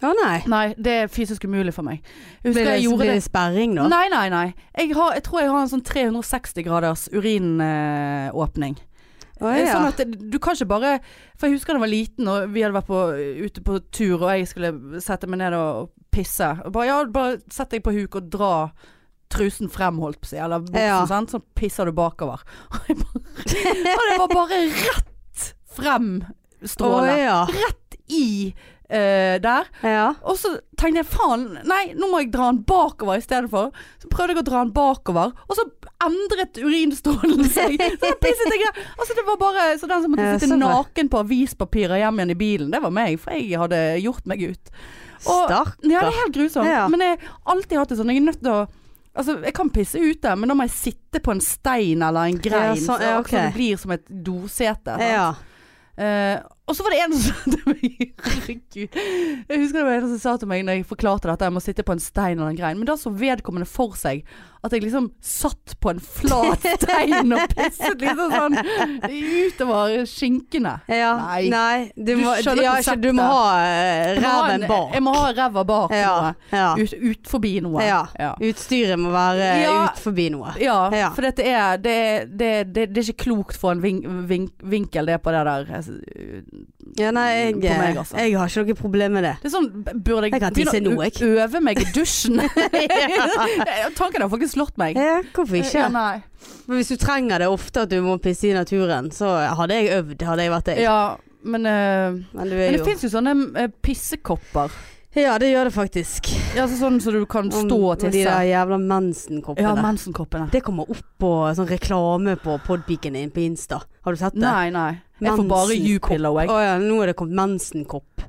S2: Å nei.
S1: Nei, det er fysisk umulig for meg. Jeg
S2: Blir
S1: husker
S2: det,
S1: jeg gjorde
S2: blir
S1: det
S2: det sperring nå?
S1: Nei, nei, nei. Jeg, har, jeg tror jeg har en sånn 360 graders urinåpning.
S2: Å,
S1: Eh,
S2: ja. [laughs]
S1: Sånn at det- du kan ikke bare For jeg husker da jeg var liten og vi hadde vært på, ute på tur, og jeg skulle sette meg ned og pisse. Og bare, ja, bare sett deg på huk og dra trusen frem, holdt på å si, eller buksen,
S2: Ja.
S1: sant? så pisser du bakover. Og jeg bare- og det var bare rett frem
S2: Å,
S1: strålet.
S2: ja.
S1: I eh, der.
S2: ja.
S1: Og så tenkte jeg faen, nei, nå må jeg dra den bakover i stedet for. Så prøvde jeg å dra den bakover, og så endret urinstrålen seg. Så da pisset jeg der. Altså det var bare så den som måtte
S2: Ja,
S1: sitte
S2: så bra.
S1: naken på avispapirer hjem igjen i bilen, det var meg, for jeg hadde gjort meg ut. Og-
S2: Stakkar.
S1: Ja, det er helt grusomt.
S2: Ja.
S1: Men jeg har alltid hatt det sånn. Jeg er nødt til å Altså, jeg kan pisse ute, men da må jeg sitte på en stein eller en grein,
S2: Ja, sånn, ja, ok.
S1: så, så det blir som et dosete. sant?
S2: Ja.
S1: Eh, og så var det en som [laughs] sa til meg Herregud. Jeg husker det var en som sa til meg når jeg forklarte dette, jeg må sitte på en stein eller en grein. Men da så vedkommende for seg at jeg liksom satt på en
S2: [laughs]
S1: flat stein og pisset liksom sånn utover skinkene.
S2: ja.
S1: Nei.
S2: Du,
S1: Du
S2: må,
S1: skjønner
S2: ja, ikke, du må ha eh,
S1: Jeg må ha en-
S2: ræven bak.
S1: Jeg må ha ræva bak
S2: ja.
S1: noe.
S2: ja.
S1: Ut, ut forbi noe.
S2: Ja.
S1: ja.
S2: Utstyret må være eh,
S1: Ja.
S2: ut forbi noe.
S1: Ja,
S2: Ja.
S1: for dette er det, er- det, er- det, er- det er ikke klokt for en vink, vink, vinkel det er på det der.
S2: Ja, nei, jeg, eh,
S1: På meg, altså.
S2: jeg har ikke noe problem med det. [laughs]
S1: Det er sånn, b- burde jeg,
S2: Jeg kan tisse
S1: begynne
S2: nå,
S1: å
S2: jeg.
S1: ø- øve meg i dusjen? [laughs] Tanken har faktisk slått meg.
S2: Ja, hvorfor ikke?
S1: Ja, nei.
S2: Men hvis du trenger det ofte at du må pisse i naturen, så hadde jeg øvd, hadde jeg vært deg.
S1: ja men, eh,
S2: Men du er
S1: men det
S2: jo
S1: fins jo sånne eh, pissekopper.
S2: Ja, det gjør det faktisk.
S1: Ja, altså sånn som du kan
S2: Om-
S1: stå og
S2: om De
S1: tisse.
S2: der jævla mensenkoppene.
S1: Ja, mensenkoppene.
S2: det kommer opp på sånn reklame på podpiken din på Insta. Har du sett det?
S1: Nei, nei. Jeg får bare
S2: Mensenkopp.
S1: U-pillow, jeg.
S2: Å ja, nå er det kommet mensenkopp.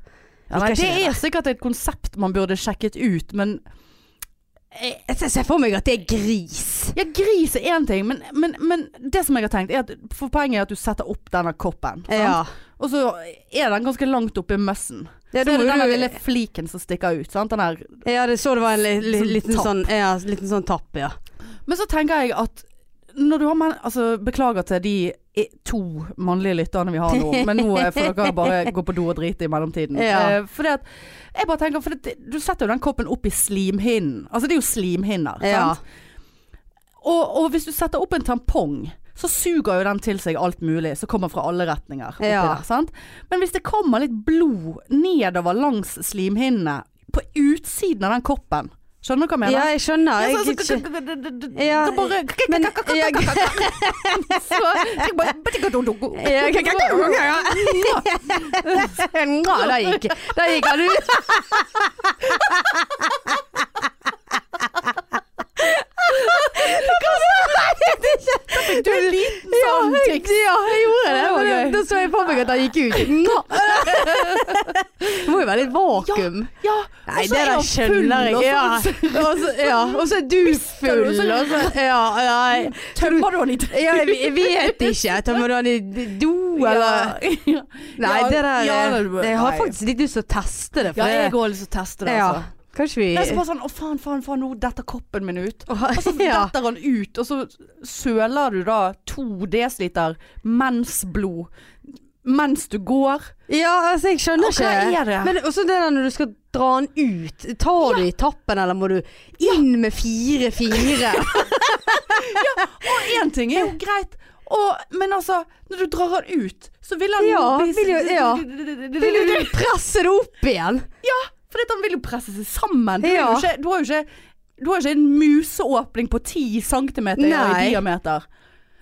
S1: Ja, nei,
S2: liker
S1: det
S2: ikke det
S1: er sikkert et konsept man burde sjekket ut, men
S2: Jeg, jeg ser for meg at det er gris.
S1: Ja, gris er én ting, men, men, men det som jeg har tenkt, er at for poenget er at du setter opp denne koppen. sant?
S2: Ja.
S1: Og så er den ganske langt oppi møssen. Så
S2: Ja, da
S1: er
S2: må
S1: det den
S2: du-
S1: lille fliken som stikker ut. Sant? Den her
S2: ja, det så det var en li, li,
S1: Sånn
S2: liten,
S1: tapp.
S2: sånn, ja, liten sånn tapp, ja.
S1: Men så tenker jeg at når du har menn Altså, beklager til de i- to mannlige lytterne vi har
S2: [laughs]
S1: nå, men nå eh, får dere bare gå på do og drite i mellomtiden.
S2: Ja.
S1: Eh, fordi at Jeg bare tenker, for det, du setter jo den koppen opp i slimhinnen. Altså, det er jo slimhinner,
S2: ja.
S1: sant? Og, og hvis du setter opp en tampong, så suger jo den til seg alt mulig som kommer fra alle retninger. oppi
S2: Ja.
S1: Der, sant? Men hvis det kommer litt blod nedover langs slimhinnene, på utsiden av den koppen Skjønner du hva jeg mener?
S2: Ja, jeg skjønner.
S1: Ja,
S2: Jeg,
S1: så- så-
S2: ikke-
S1: Ja,
S2: Ja,
S1: så bare [laughs]
S2: men-
S1: Så tenk bare-
S2: ja, Ja, k- k- Ja, da gikk, da gikk han ut.
S1: Du er en liten
S2: Ja,
S1: sånn
S2: jeg,
S1: tics.
S2: ja, jeg gjorde det.
S1: Det var
S2: men
S1: gøy.
S2: Da så jeg for meg at han gikk ut. Det må jo være litt vakuum.
S1: Ja, og
S2: Nei,
S1: så
S2: det
S1: er
S2: der
S1: han
S2: skjønner
S1: full,
S2: jeg. Ja.
S1: og så-
S2: Og så- ja, Og så er du full,
S1: og så-
S2: og så Ja, nei.
S1: Tømmer du han i
S2: Ja, jeg, jeg vet ikke. Tømmer du han i do, eller
S1: [laughs] Ja.
S2: Nei,
S1: Ja,
S2: det der
S1: ja, det-
S2: Jeg har
S1: nei.
S2: faktisk litt lyst til å teste det.
S1: Ja,
S2: For
S1: jeg
S2: det,
S1: har lyst til å teste det,
S2: ja,
S1: altså.
S2: kanskje vi
S1: Jeg er så bare altså, sånn Å, faen, faen, faen, nå detter koppen min ut. Og så
S2: [laughs] Ja.
S1: detter han ut, og så søler du da to desiliter mensblod mens du går.
S2: Ja, altså jeg skjønner
S1: Og hva
S2: ikke.
S1: er det?
S2: Men også det der når du skal dra den ut. Tar du i tappen, eller må du inn med
S1: [laughs]
S2: fire fingre?
S1: Én ting er jo greit, og, men altså Når du drar han ut, så vil han [laughs]
S2: Ja, vil jo- ja. Vil du
S1: ja.
S2: presse det opp igjen?
S1: For han vil jo presse seg sammen. Du, er
S2: Ja.
S1: jo ikke, du har jo ikke du har ikke en museåpning på 10 cm i
S2: Nei.
S1: diameter.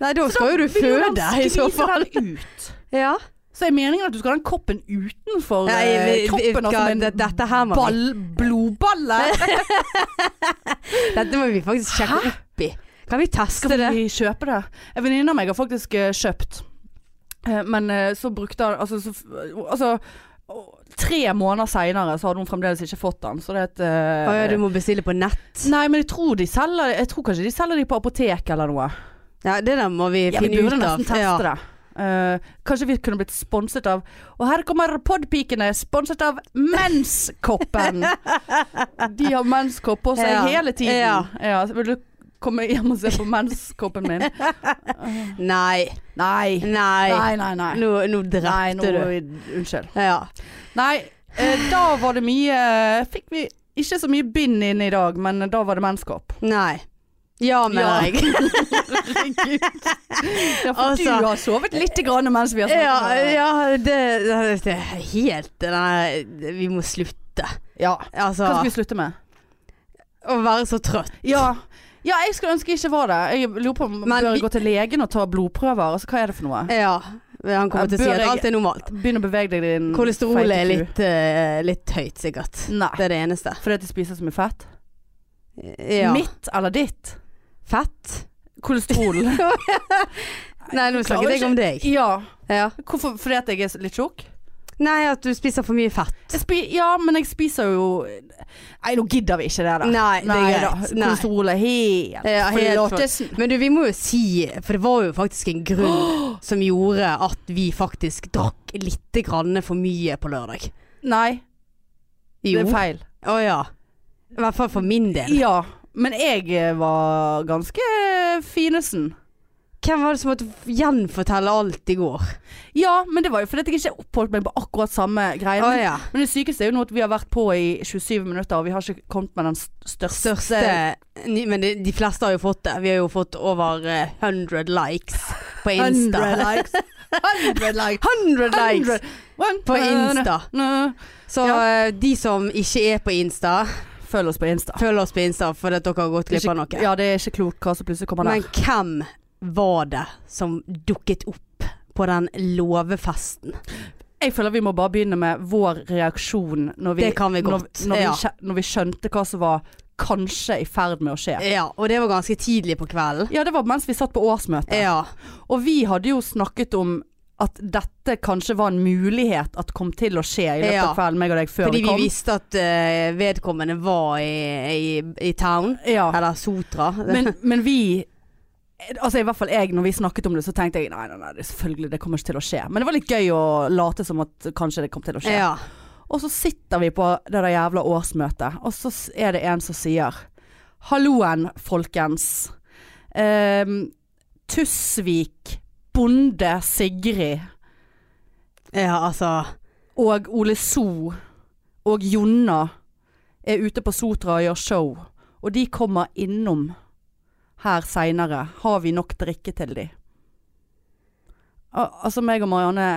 S2: Nei, da skal jo du
S1: Vil jo
S2: føde
S1: da
S2: i så
S1: skvise
S2: fall.
S1: den ut.
S2: Ja.
S1: Så er meningen at du skal ha den koppen utenfor
S2: Nei,
S1: eh,
S2: vi- vi-
S1: kroppen og som en
S2: det- dette her må vi-
S1: ball,
S2: [laughs]
S1: blodballe?
S2: Dette må vi faktisk sjekke opp i. Kan vi teste
S1: Skal
S2: det?
S1: vi kjøpe det? En venninne av meg har faktisk eh, kjøpt. Eh, Men eh, så brukte han Altså, så, altså å, tre måneder seinere så hadde hun fremdeles ikke fått den. Så det er et eh,
S2: Å ja, du må bestille på nett.
S1: Nei, men jeg tror de selger Jeg tror kanskje de selger de på apotek eller noe.
S2: Ja, det der må vi
S1: Ja, vi
S2: finne ut
S1: burde
S2: av.
S1: nesten teste
S2: ja.
S1: det. Eh, kanskje vi kunne blitt sponset av Og her kommer podpikene, sponset av Menskoppen. De har menskopp på seg
S2: Ja.
S1: hele tiden.
S2: Ja.
S1: Ja, så vil du komme hjem og se på menskoppen min?
S2: [laughs] Nei.
S1: Nei.
S2: Nei.
S1: Nei, nei, nei.
S2: Nå, nå
S1: Nei, nå,
S2: drepte du.
S1: Unnskyld.
S2: Ja.
S1: Nei, eh, da var det mye Fikk vi ikke så mye bind inn i dag, men da var det mennskap.
S2: Nei. Ja,
S1: Ja.
S2: mener jeg.
S1: Herregud. Ja, for
S2: Altså-
S1: du har sovet litt grann mens vi har snakket.
S2: Ja,
S1: nå.
S2: ja det, det er helt Nei, vi må slutte.
S1: ja.
S2: Altså,
S1: Hva skal vi slutte med?
S2: å være så trøtt.
S1: Ja. ja, jeg skulle ønske jeg ikke var det. Jeg lurer på om
S2: Men
S1: Bør
S2: vi-
S1: jeg gå til legen og ta blodprøver? Altså, hva er det for noe?
S2: Ja. Han kommer til å si
S1: Bør
S2: at
S1: jeg- Mm,
S2: alt er normalt.
S1: Begynn å bevege deg din
S2: Kolesterolet er
S1: feite ku.
S2: litt, eh, litt høyt, sikkert.
S1: Nei.
S2: Det er det eneste.
S1: Fordi at de spiser så mye fett?
S2: Ja.
S1: Mitt eller ditt?
S2: Fett?
S1: Kolesterol.
S2: Nei, nå
S1: klarer
S2: snakket jeg
S1: ikke-
S2: om deg.
S1: [laughs] ja.
S2: Ja.
S1: Hvorfor? Fordi at jeg er litt tjukk?
S2: Nei, at du spiser for mye fett.
S1: Jeg spi ja, men jeg spiser jo Nei, nå gidder vi ikke det der.
S2: Nei, det er
S1: da.
S2: greit. Nei. Eh,
S1: Kolesterol er Eh, helt
S2: Ja, helt for-
S1: Flatesen.
S2: Men du, vi må jo si, for det var jo faktisk en grunn som gjorde at vi faktisk drakk litt grann for mye på lørdag.
S1: Nei, det
S2: Jo.
S1: er feil.
S2: Å ja. I hvert fall for min del.
S1: Ja, men jeg eh, var ganske finesen.
S2: Hvem var det som måtte f- gjenfortelle alt i går?
S1: Ja, men det var jo fordi at jeg ikke oppholdt meg på akkurat samme greien.
S2: Å ja.
S1: Men det sykeste er jo nå at vi har vært på i 27 minutter, og vi har ikke kommet med den s- største,
S2: Største ny- Men de, de fleste har jo fått det. Vi har jo fått over eh, 100 likes på
S1: 100
S2: Insta. [laughs]
S1: likes. [laughs] 100 likes.
S2: 100 likes
S1: 100.
S2: på Insta.
S1: Nå.
S2: Så eh, de som ikke er på Insta,
S1: Følg oss på Insta.
S2: følg oss på Insta fordi at dere har gått glipp av
S1: Ikke-
S2: noe.
S1: Ja, det er ikke klokt hva som plutselig kommer der.
S2: Men hvem var det som dukket opp på den låvefesten?
S1: Jeg føler vi må bare begynne med vår reaksjon når vi,
S2: Det kan vi godt,
S1: når, når,
S2: ja.
S1: vi, skjø- når vi skjønte hva som var kanskje i ferd med å skje.
S2: Ja, og det var ganske tidlig på kvelden.
S1: Ja, det var mens vi satt på årsmøtet.
S2: Ja.
S1: Og vi hadde jo snakket om at dette kanskje var en mulighet at kom til å skje i løpet
S2: Ja.
S1: av kvelden, meg og deg, før
S2: Fordi
S1: vi
S2: vi
S1: kom.
S2: visste at eh, vedkommende var i, i, i town.
S1: ja.
S2: Eller Sotra.
S1: Men, men vi Altså i hvert fall jeg, når vi snakket om det, så tenkte jeg nei, nei, nei, det, selvfølgelig, det kommer ikke til å skje. Men det var litt gøy å late som at kanskje det kom til å skje.
S2: ja.
S1: Og så sitter vi på det der jævla årsmøtet, og så s- er det en som sier Halloen, folkens. Ehm, Tusvik, Bonde Sigrid
S2: ja, altså
S1: og Ole So og Jonna er ute på Sotra og gjør show. Og de kommer innom her seinere. Har vi nok drikke til de? Al altså meg og Marianne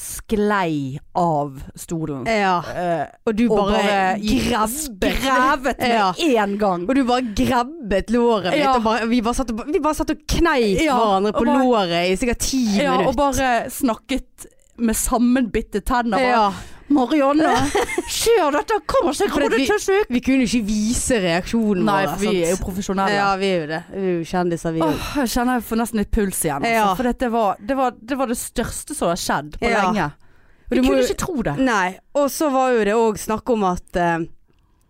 S1: sklei av stolen.
S2: Ja.
S1: Eh,
S2: Og du
S1: og
S2: bare,
S1: bare
S2: grabbet.
S1: gravet med
S2: Ja.
S1: én gang.
S2: Og du bare grabbet låret mitt.
S1: Ja.
S2: Og bare, vi, bare satt og, vi bare satt og kneip
S1: Ja,
S2: hverandre på
S1: og bare-
S2: låret i sikkert ti
S1: Ja, og
S2: minutter.
S1: bare snakket med sammenbitte tenner. Bare,
S2: Ja.
S1: Marianne, [laughs] skjer dette? Kommer ikke
S2: For at
S1: Rode
S2: vi-
S1: Tøsvik?
S2: Vi kunne jo ikke vise reaksjonen
S1: Nei,
S2: vår.
S1: for vi
S2: sant?
S1: er jo profesjonelle.
S2: Ja, vi er jo det. Vi er jo kjendiser, vi òg.
S1: Åh, jeg kjenner jeg får nesten litt puls igjen. Altså,
S2: Ja.
S1: For det var, det, var, det var det største som har skjedd på
S2: Ja.
S1: lenge.
S2: Og
S1: Vi
S2: du må
S1: kunne
S2: jo-
S1: ikke tro det.
S2: Nei. Og så var jo det òg snakk om at eh,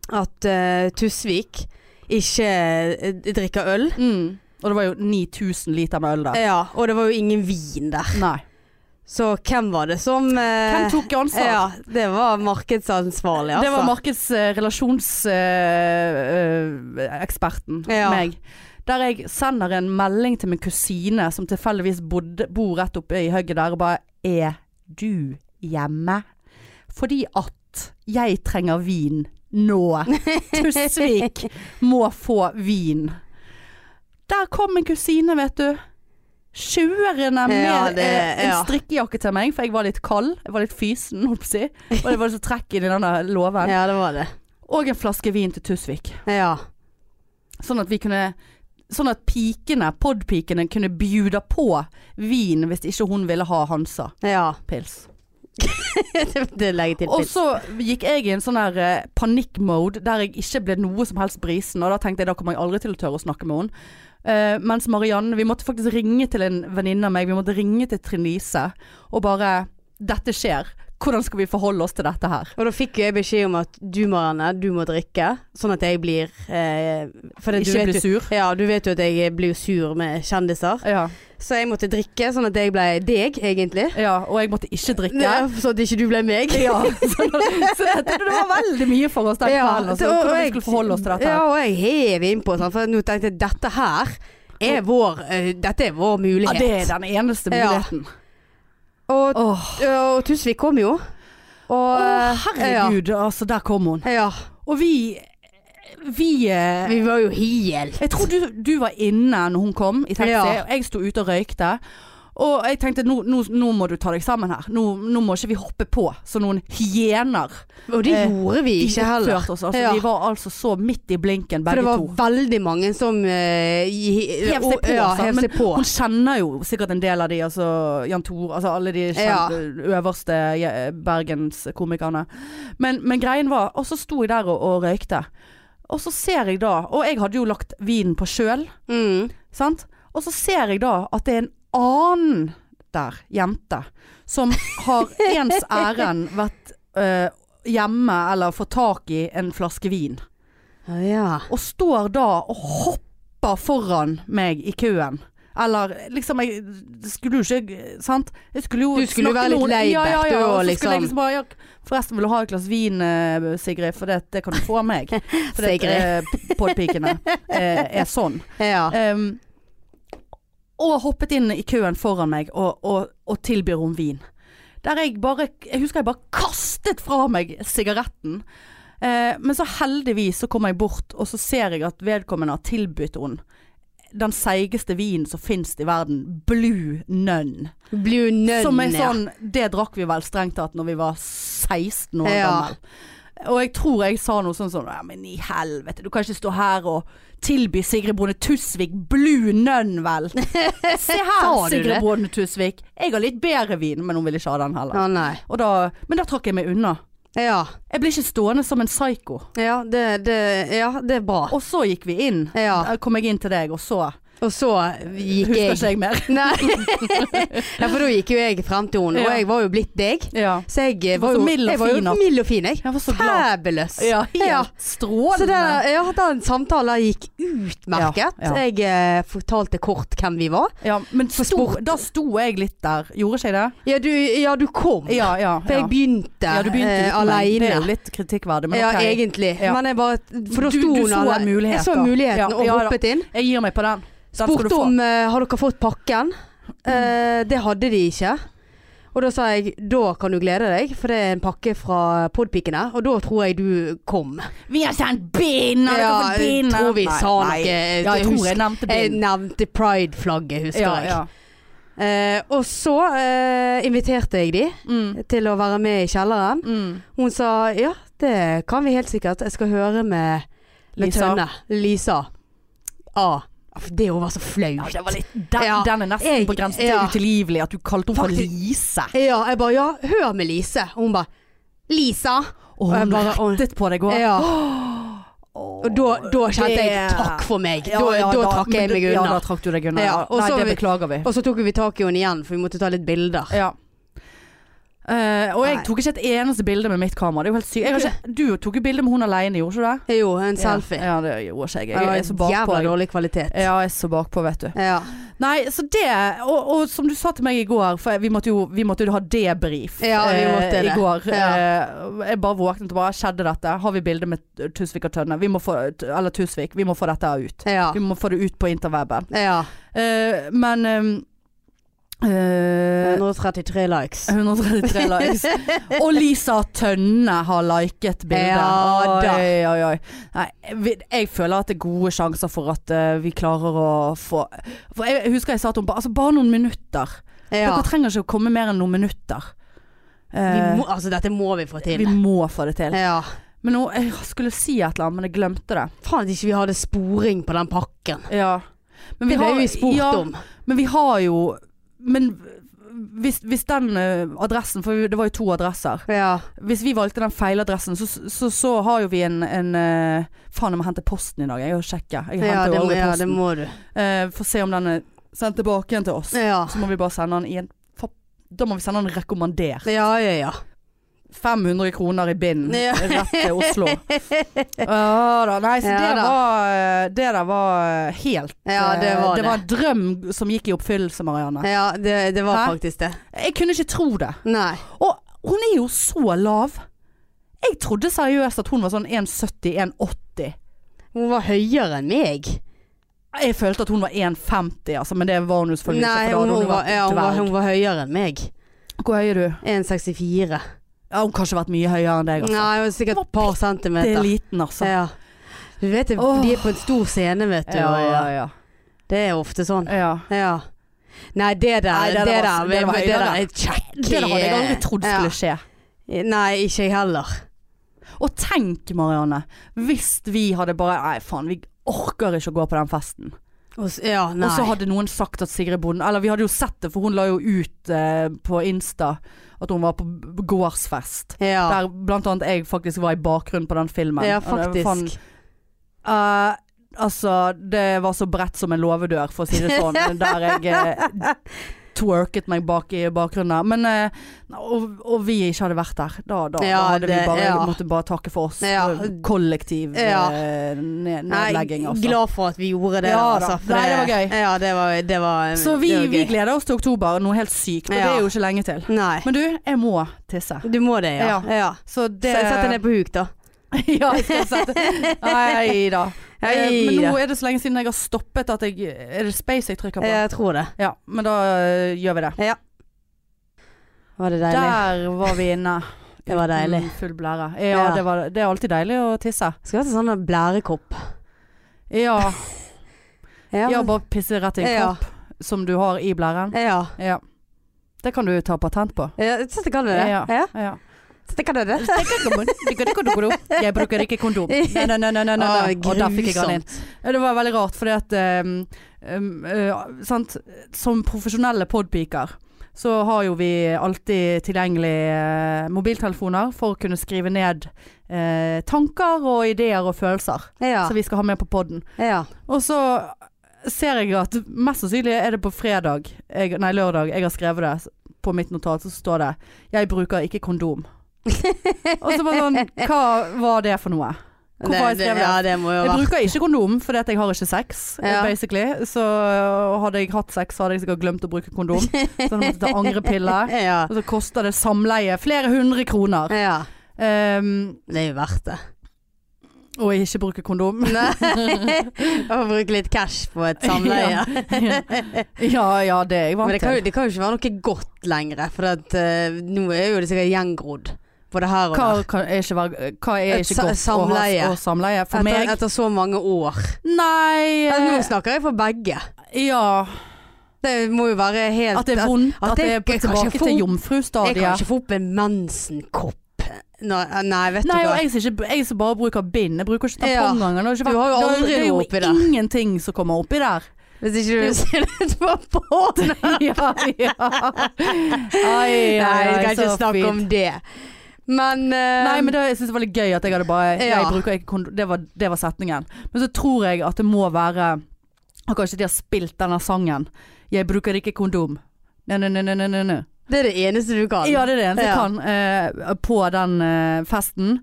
S2: at eh, Tusvik ikke eh, drikker øl.
S1: Mm. Og det var jo 9000 liter med øl der.
S2: Ja, og det var jo ingen vin der.
S1: Nei.
S2: Så hvem var det som eh,
S1: Hvem tok ansvar?
S2: Ja, det var markedsansvarlig, altså.
S1: Det var eh, markedsrelasjonseksperten,
S2: Ja.
S1: eh, meg. Der jeg sender en melding til min kusine som tilfeldigvis bodde, bor rett oppe i høgget der, og bare Er du hjemme? Fordi at jeg trenger vin
S2: [laughs]
S1: nå. Tusvik må få vin. Der kom en kusine, vet du. kjørende med
S2: Ja, det-
S1: eh, en
S2: ja.
S1: strikkejakke til meg, for jeg var litt kald. Jeg var litt fysen, holdt på å si. Og det var så trekk i den der låven.
S2: Ja, det var det.
S1: Og en flaske vin til Tusvik.
S2: Ja.
S1: Sånn at vi kunne Sånn at pikene, podpikene, kunne bjuda på vin hvis ikke hun ville ha Hansa-pils.
S2: ja. [laughs] det det legger jeg til
S1: Og
S2: pils.
S1: så gikk jeg i en sånn her eh, panikkmode der jeg ikke ble noe som helst brisen, og da tenkte jeg da kommer jeg aldri til å tørre å snakke med henne. Eh, mens Marianne Vi måtte faktisk ringe til en venninne av meg, vi måtte ringe til Trine Lise og bare 'Dette skjer. Hvordan skal vi forholde oss til dette her?'
S2: Og da fikk jo jeg beskjed om at du Marianne, du må drikke, sånn at jeg blir eh, for det, du
S1: Ikke
S2: vet
S1: bli
S2: jo-
S1: sur.
S2: Ja, du vet jo at jeg blir jo sur med kjendiser.
S1: Ja,
S2: Så jeg måtte drikke, sånn at jeg ble deg, egentlig.
S1: ja, og jeg måtte ikke drikke.
S2: Ja, sånn at ikke du ble meg.
S1: Ja, [laughs] så, så jeg tenkte det var veldig mye for oss den
S2: [laughs] Ja,
S1: kvelden. Altså,
S2: og- og
S1: hvordan vi
S2: jeg-
S1: skulle forholde oss til dette.
S2: Ja,
S1: her.
S2: og jeg hev innpå, sånn, for nå tenkte jeg dette her er vår, eh, dette er
S1: Ja,
S2: vår mulighet.
S1: det er den eneste
S2: Ja.
S1: muligheten.
S2: Og,
S1: Åh,
S2: og Tusvik kom jo. Og, eh,
S1: åh, herregud, altså der kom hun.
S2: Ja, ja.
S1: Og vi Vi eh,
S2: Vi var jo helt
S1: Jeg tror du, du var inne når hun kom i taxi,
S2: Ja.
S1: og jeg sto ute og røykte. Og jeg tenkte nå, nå, nå må du ta deg sammen her. Nå, nå må ikke vi hoppe på som noen hyener.
S2: Og det
S1: Eh,
S2: gjorde vi ikke heller.
S1: oppførte oss. Altså,
S2: Ja.
S1: Vi var altså så midt i blinken
S2: For
S1: begge
S2: det var
S1: to.
S2: veldig mange som eh, gi-
S1: Hev seg
S2: og-
S1: på,
S2: ja,
S1: sant?
S2: hev
S1: Men
S2: seg på.
S1: Hun kjenner jo sikkert en del av de, altså Jan Tor, altså alle de kjente, øverste je- bergenskomikerne. Men, men greien var, og så sto jeg der og, og røykte. Og så ser jeg da, og jeg hadde jo lagt vinen på sjøl,
S2: Mm.
S1: sant? Og så ser jeg da at det er en annen der, jente, som har ens ærend vært øh, hjemme eller fått tak i en flaske vin.
S2: Ja.
S1: Og står da og hopper foran meg i køen. Eller liksom jeg Skulle jo ikke Sant? Jeg skulle jo
S2: Du skulle jo
S1: snakke
S2: være
S1: med
S2: litt
S1: noen.
S2: laid
S1: ja, ja,
S2: back,
S1: ja,
S2: du,
S1: og
S2: og
S1: så skulle jeg
S2: liksom-
S1: liksom bare ja, Forresten, vil du ha et glass vin, eh, Sigrid? For det, det kan du få av
S2: [laughs]
S1: meg. For det,
S2: Sigrid.
S1: eh, podpikene eh, er sånn.
S2: ja.
S1: Em, og hoppet inn i køen foran meg og, og, og tilbyr hun vin. Der jeg bare Jeg husker jeg bare kastet fra meg sigaretten. Eh, men så heldigvis så kommer jeg bort, og så ser jeg at vedkommende har tilbudt henne den seigeste vinen som fins i verden. Blue Nun.
S2: Blue nun,
S1: Som er
S2: ja.
S1: sånn Det drakk vi vel strengt tatt når vi var 16 år
S2: Ja.
S1: gammel. Og jeg tror jeg sa noe sånn sånn Ja, men i helvete, du kan ikke stå her og tilby Sigrid Bonde Tusvik blue nun, vel.
S2: [laughs]
S1: Se her,
S2: Sa du det?
S1: Sigrid Bonde Tusvik. Jeg har litt bedre vin, men hun vil ikke ha den heller.
S2: Å nei.
S1: Og da, men da trakk jeg meg unna.
S2: Ja.
S1: Jeg ble ikke stående som en psyko.
S2: Ja, det, det, ja, det er bra.
S1: Og så gikk vi inn.
S2: Ah. Ja.
S1: Da kom jeg inn til deg, og så
S2: Og så gikk
S1: husker
S2: jeg
S1: ikke jeg mer.
S2: Nei. [laughs] ja, for da gikk jo jeg frem til henne,
S1: Ja.
S2: og jeg var jo blitt deg.
S1: Ja.
S2: Så jeg eh,
S1: Du var
S2: var
S1: så
S2: jo
S1: mild og
S2: jeg var jo
S1: fin at-
S2: mild og fin, jeg.
S1: Jeg var så glad.
S2: Fabulous.
S1: Ja, helt
S2: Ja. Så det,
S1: strålende.
S2: ja, den samtalen gikk utmerket.
S1: Ja, ja.
S2: Jeg eh, fortalte kort hvem vi var.
S1: ja, men sto,
S2: sport.
S1: da sto jeg litt der. Gjorde ikke jeg det?
S2: Ja, du, ja, du kom.
S1: Ja, ja.
S2: For jeg begynte,
S1: Ja, du begynte
S2: eh,
S1: uten meg.
S2: alene.
S1: Det er jo litt kritikkverdig, men
S2: ja,
S1: ok.
S2: egentlig.
S1: Ja.
S2: Men jeg bare For da
S1: Du-
S2: sto
S1: du
S2: hun
S1: så
S2: alle-
S1: en mulighet,
S2: Jeg så
S1: da.
S2: muligheten
S1: Ja,
S2: og
S1: ja da.
S2: hoppet inn.
S1: Jeg gir meg på den. Den skal du
S2: Spurte
S1: få.
S2: om eh, har dere fått pakken. Eh, det hadde de ikke. Og da sa jeg da kan du glede deg, for det er en pakke fra Podpikene. Og da tror jeg du kom.
S1: Vi har sendt bind! og dere
S2: Ja,
S1: får bind.
S2: tror vi sa noe. eh,
S1: Nei. Ja, jeg tror jeg nevnte
S2: Jeg
S1: bind.
S2: nevnte Pride-flagget, husker
S1: Ja,
S2: jeg.
S1: ja.
S2: Eh, og så eh, inviterte jeg de
S1: Mm.
S2: til å være med i kjelleren.
S1: Mm.
S2: Hun sa ja, det kan vi helt sikkert. Jeg skal høre med, med
S1: Lisa.
S2: Tønne. Lisa. Ah, det hun var så flaut.
S1: Ja, det var litt, den,
S2: Ja.
S1: den er nesten
S2: Jeg-
S1: på grensen til
S2: ja.
S1: utilgivelig, at du kalte henne for
S2: Faktisk-
S1: Lise.
S2: Ja, jeg bare ja, hør med Lise. Og hun bare Lisa.
S1: Og
S2: jeg
S1: hun
S2: bare-
S1: rettet på deg òg.
S2: Ja. Og da, da kjente jeg
S1: det-
S2: takk for meg. da, da trakk jeg meg
S1: Ja,
S2: unna.
S1: da trakk du deg unna.
S2: Ja,
S1: Ja,
S2: og
S1: Nei,
S2: så
S1: det
S2: vi-
S1: beklager vi.
S2: og så tok vi tak i henne igjen, for vi måtte ta litt bilder.
S1: Ja. Eh, og jeg
S2: Nei.
S1: tok ikke et eneste bilde med mitt kamera. Det er jo helt sykt. Jeg har ikke, du tok jo bilde med hun alene, gjorde ikke du det?
S2: Jo, en selfie.
S1: Ja, det gjorde ikke jeg.
S2: Det
S1: Jeg
S2: var
S1: er så bakpå.
S2: jævla
S1: jeg.
S2: dårlig kvalitet.
S1: Ja, jeg er så bakpå, vet du.
S2: Ja.
S1: Nei, så det Og, og som du sa til meg i går, for vi måtte jo, vi måtte jo ha debrief
S2: Ja, vi måtte
S1: eh, i
S2: det.
S1: går.
S2: Ja.
S1: Eh, jeg bare våknet og bare Skjedde dette? Har vi bilde med Tusvik og Tønne? Vi må få, eller Tusvik, vi må få dette ut.
S2: Ja.
S1: Vi må få det ut på interweben.
S2: ja.
S1: Eh, men eh, Eh,
S2: 133 likes. [laughs]
S1: 133 likes. Og Lisa Tønne har liket bildet.
S2: Ja da.
S1: Oi, oi, oi. Nei, vi- jeg føler at det er gode sjanser for at eh, vi klarer å få For jeg husker jeg sa til henne altså, bare noen minutter.
S2: Ja.
S1: eh, Dere trenger ikke å komme mer enn noen minutter.
S2: Vi
S1: Eh,
S2: må, altså, dette må vi få
S1: vi
S2: til.
S1: må få det til.
S2: Ja.
S1: Men nå, jeg skulle si et eller annet, men jeg glemte det.
S2: Faen at ikke vi hadde sporing på den pakken.
S1: Ja. Men
S2: Det ble
S1: har-
S2: vi spurt
S1: ja,
S2: om.
S1: Men vi har jo Men hvis, hvis den eh, adressen For det var jo to adresser.
S2: Ja.
S1: Hvis vi valgte den feiladressen, så, så, så har jo vi en, en eh, Faen, jeg må hente posten i dag. Jeg må sjekke. Jeg
S2: Ja,
S1: henter
S2: det
S1: jo
S2: må,
S1: aldri
S2: ja, det
S1: posten.
S2: må du.
S1: Eh, Få se om den er sendt tilbake igjen til oss.
S2: Ja.
S1: Så må vi bare sende den i en fa- Da må vi sende den rekommandert.
S2: Ja, ja, ja.
S1: 500 kroner i bind
S2: Ja.
S1: rett til
S2: [laughs]
S1: Oslo. Ja da. Nei, så
S2: Ja
S1: det,
S2: da.
S1: Var, eh, det der var eh, helt
S2: Ja, det
S1: eh,
S2: var det.
S1: det var en drøm som gikk i oppfyllelse, Marianne.
S2: ja det, det var
S1: Hæ?
S2: faktisk det.
S1: Jeg kunne ikke tro det.
S2: Nei.
S1: Og hun er jo så lav. Jeg trodde seriøst at hun var sånn 1,70-1,80.
S2: Hun var høyere enn meg.
S1: Jeg følte at hun var 1,50, altså, men det var hun jo selvfølgelig
S2: Nei,
S1: ikke. For da
S2: hun,
S1: hadde hun,
S2: hun,
S1: jo
S2: var,
S1: vært
S2: ja, hun, var,
S1: dverg.
S2: hun var høyere enn meg.
S1: Hvor høy er du?
S2: 1,64.
S1: Ja, hun kan ikke ha vært mye høyere enn deg,
S2: Nei,
S1: altså.
S2: hun var sikkert et par
S1: det er
S2: centimeter.
S1: liten, altså.
S2: Ja. Du vet, det-
S1: Åh.
S2: de er på en stor scene, vet du.
S1: Ja, ja,
S2: og
S1: ja.
S2: Det er ofte sånn.
S1: ja.
S2: Ja. Nei, det der,
S1: Nei,
S2: det,
S1: det der
S2: der,
S1: var- det
S2: det,
S1: der var
S2: det
S1: høyere.
S2: der er kjekk.
S1: Det hadde jeg aldri trodd skulle skje.
S2: Ja. Nei, ikke jeg heller.
S1: Og tenk, Marianne, hvis vi hadde bare Nei, faen, vi orker ikke å gå på den festen.
S2: Og s- Ja, nei.
S1: Og så hadde noen sagt at Sigrid Bonde Eller vi hadde jo sett det, for hun la jo ut eh, på Insta at hun var på b- gårdsfest.
S2: ja.
S1: Der blant annet jeg faktisk var i bakgrunnen på den filmen.
S2: ja,
S1: Og det var faen-
S2: faktisk.
S1: Eh, altså, det var så bredt som en låvedør, for å si det sånn. der jeg eh, twerket meg bak i bakgrunnen. der. Men eh, og, og vi ikke hadde vært der. Da, da, da
S2: Ja,
S1: hadde vi
S2: det-
S1: bare
S2: ja.
S1: måtte bare takke for oss.
S2: Ja.
S1: Kollektiv
S2: Ja.
S1: eh, ned,
S2: Nei,
S1: nedlegging, altså.
S2: glad for at vi gjorde det.
S1: Ja da.
S2: altså, for
S1: Nei, det var gøy.
S2: Ja, det var, det var
S1: Så vi,
S2: det var
S1: vi
S2: gøy.
S1: gleder oss til oktober. Noe helt sykt. Og
S2: Ja.
S1: det er jo ikke lenge til.
S2: Nei.
S1: Men du, jeg må tisse.
S2: Du må det, ja. ja.
S1: Så det
S2: Så Sett deg ned på huk, da.
S1: [laughs] ja, jeg skal sette
S2: [laughs]
S1: Nei da. Eh,
S2: Nei
S1: Men nå
S2: da.
S1: er det så lenge siden jeg har stoppet at jeg Er det space jeg trykker på?
S2: Jeg tror det.
S1: Ja, men da ø, gjør vi det.
S2: Var det deilig?
S1: Der var vi inne.
S2: Det var deilig.
S1: Uten Full blære. Ja,
S2: Ja.
S1: Det, var, det er alltid deilig å tisse.
S2: Skal vi ha sånn en blærekopp?
S1: Ja,
S2: Ja.
S1: ja
S2: men-
S1: bare pisse rett i en
S2: Ja.
S1: kopp som du har i blæren.
S2: ja.
S1: Ja. Det kan du ta patent på.
S2: ja. Så det kan du det.
S1: Ja.
S2: Ja.
S1: Ja.
S2: Så det kan
S1: [laughs]
S2: du det.
S1: Jeg bruker ikke
S2: [laughs]
S1: kondom. Nei, nei, nei. nei, nei,
S2: Ah,
S1: nei. Og der fikk jeg han inn.
S2: grusomt.
S1: Ja, Det var veldig rart, fordi at ehm, ehm, eh, sant? Som profesjonelle podpiker så har jo vi alltid tilgjengelig eh, mobiltelefoner for å kunne skrive ned eh, tanker og ideer og følelser
S2: Ja.
S1: som vi skal ha med på podden.
S2: ja.
S1: Og så ser jeg at mest sannsynlig er det på fredag, jeg, nei lørdag, jeg har skrevet det på mitt notat, så står det 'Jeg bruker ikke
S2: [laughs]
S1: kondom'. og så var det sånn, hva var det for noe? Hvorfor har jeg skrevet det?
S2: Ja, det må jo
S1: Jeg
S2: være
S1: bruker ikke kondom fordi at jeg har ikke sex, eh,
S2: Ja.
S1: basically. Så øh, hadde jeg hatt sex, så hadde jeg sikkert glemt å bruke
S2: [laughs]
S1: kondom. Så jeg måtte ta angrepiller.
S2: Ja.
S1: Og så koster det samleie flere hundre kroner.
S2: ja.
S1: Um,
S2: Det er jo verdt
S1: [laughs]
S2: det.
S1: og jeg ikke bruker kondom. [laughs]
S2: Nei. [laughs] Å bruke litt cash på et samleie. [laughs]
S1: ja ja, det er jeg
S2: Men
S1: vant
S2: det kan, jo,
S1: til.
S2: det kan jo ikke være noe godt lenger, for at, eh, nå er jo det sikkert gjengrodd. Både her og
S1: Hva,
S2: der.
S1: kan er ikke være, hva er
S2: Et
S1: ikke
S2: sa-
S1: godt
S2: samleie.
S1: å ha og samleie? For
S2: etter,
S1: meg?
S2: etter så mange år.
S1: Nei
S2: Ja, nå
S1: eh,
S2: snakker jeg for begge.
S1: Ja.
S2: Det må jo være helt
S1: At det er vondt.
S2: at
S1: At det er
S2: jeg- jeg kan
S1: tilbake
S2: ikke få-
S1: til
S2: Jeg kan
S1: jomfrustadiet.
S2: ikke få opp en mensenkopp. Nei, nei vet
S1: Nei,
S2: du
S1: og
S2: hva.
S1: jeg som, ikke, jeg som bare bruker bind. Jeg bruker ikke
S2: Ja.
S1: tampong engang.
S2: Du har jo aldri
S1: det er
S2: noe
S1: jo
S2: oppi der.
S1: ingenting som kommer oppi
S2: [laughs]
S1: der.
S2: Hvis ikke du ser ut på porno.
S1: ja, ja. Ai, ai,
S2: Nei, vi
S1: ai,
S2: skal ikke
S1: så
S2: snakke
S1: fint.
S2: om det. Men, eh,
S1: Nei, men det, jeg synes det var litt gøy at jeg hadde bare
S2: Ja.
S1: Jeg bruker ikke kondom. Det var, det var setningen. Men så tror jeg at det må være at Kanskje de har spilt denne sangen. 'Jeg bruker ikke kondom'. Nei, nei, nei, nei, nei, nei, nei.
S2: det er det eneste du kan.
S1: Ja, det er det eneste jeg
S2: Ja.
S1: kan eh, på den eh, festen.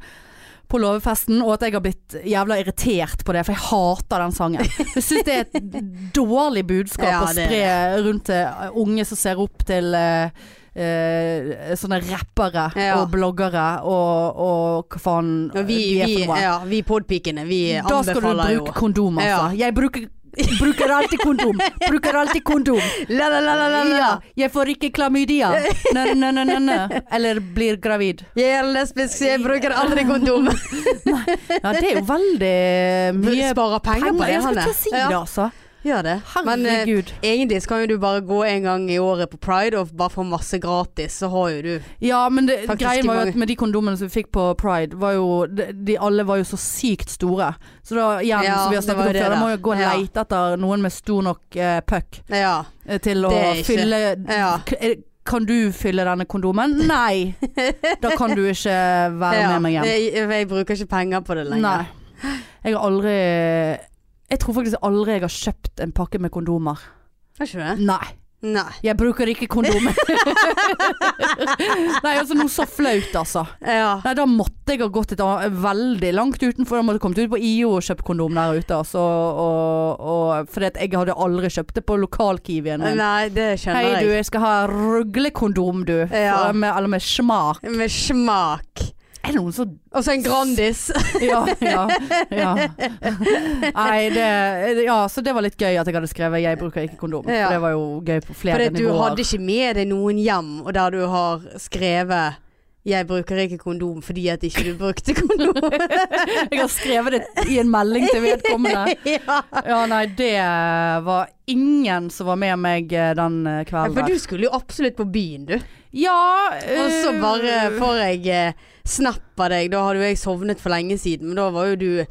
S1: På låvefesten, og at jeg har blitt jævla irritert på det, for jeg hater den
S2: [laughs]
S1: sangen. Jeg syns det er et dårlig budskap
S2: Ja,
S1: å
S2: det er
S1: spre rundt til unge som ser opp til eh, eh, sånne rappere
S2: Ja.
S1: og bloggere og, og hva faen
S2: Og vi,
S1: de er
S2: vi,
S1: for noe.
S2: ja, vi podpikene, vi
S1: da skal du
S2: anbefaler jo
S1: bruke kondom, altså. Jeg bruker Bruker alltid
S2: [laughs]
S1: kondom. Bruker alltid kondom.
S2: La, la, la, la, la, la.
S1: Ja, jeg får ikke klamydia. Nei, nei, nei, nei, nei. Eller blir gravid.
S2: Jeg er lesbisk, så jeg bruker aldri [laughs] kondom.
S1: Ja, det er jo veldig mye
S2: Sparer penger på det.
S1: Jeg
S2: han
S1: skal
S2: er.
S1: ikke si det,
S2: Ja,
S1: altså.
S2: gjør det. Men eh,
S1: Herregud.
S2: egentlig så kan jo du bare gå en gang i året på pride og bare få masse gratis, så har jo du
S1: Ja, men det,
S2: faktisk
S1: greien var jo
S2: mange-
S1: at med de kondomene som vi fikk på Pride, var jo de, de alle var jo så sykt store. Så da igjen,
S2: Ja,
S1: som vi har
S2: det var
S1: snakket om
S2: det
S1: før, da
S2: der.
S1: må jo gå og
S2: Ja.
S1: leite etter noen med stor nok eh, puck
S2: Ja.
S1: eh, til å
S2: Det er ikke-
S1: fylle
S2: ja.
S1: K- er- Kan du fylle denne kondomen?
S2: [laughs]
S1: Nei! Da kan du ikke være
S2: ja.
S1: med meg hjem.
S2: Jeg, jeg bruker ikke penger på det lenger.
S1: Nei. Jeg har aldri Jeg tror faktisk aldri jeg har kjøpt en pakke med kondomer.
S2: Har ikke du det?
S1: Nei.
S2: Nei.
S1: Jeg bruker ikke
S2: [laughs]
S1: kondomer. Nei, altså noe så flaut, altså.
S2: Ja.
S1: Nei, da måtte jeg ha gått et annet, veldig langt utenfor. Da måtte jeg kommet ut på IO og kjøpt kondom der ute, altså. Og, og, fordi at jeg hadde aldri kjøpt det på lokalkiwien min.
S2: Nei, det skjønner
S1: Hei du,
S2: jeg.
S1: jeg skal ha ruglekondom du.
S2: Ja.
S1: For- Med, eller med smak.
S2: Med smak.
S1: Er det noen som
S2: Og så en Grandis.
S1: Ja, ja. ja. Nei, det Ja, så det var litt gøy at jeg hadde skrevet 'jeg bruker ikke kondom'.
S2: Ja.
S1: For det var jo gøy på flere
S2: Fordi at du
S1: nivåer.
S2: hadde ikke med deg noen hjem, og der du har skrevet 'jeg bruker ikke kondom fordi at ikke du brukte
S1: [laughs]
S2: kondom'. [laughs]
S1: Jeg har skrevet det i en melding til vedkommende.
S2: [laughs] ja.
S1: Ja, nei, det var ingen som var med meg eh, den eh,
S2: Ja,
S1: kvelden.
S2: For
S1: der.
S2: du skulle jo absolutt på byen, du.
S1: Ja
S2: Og så
S1: eh,
S2: bare får jeg eh, snap av deg. Da hadde jo jeg sovnet for lenge siden, men da var jo du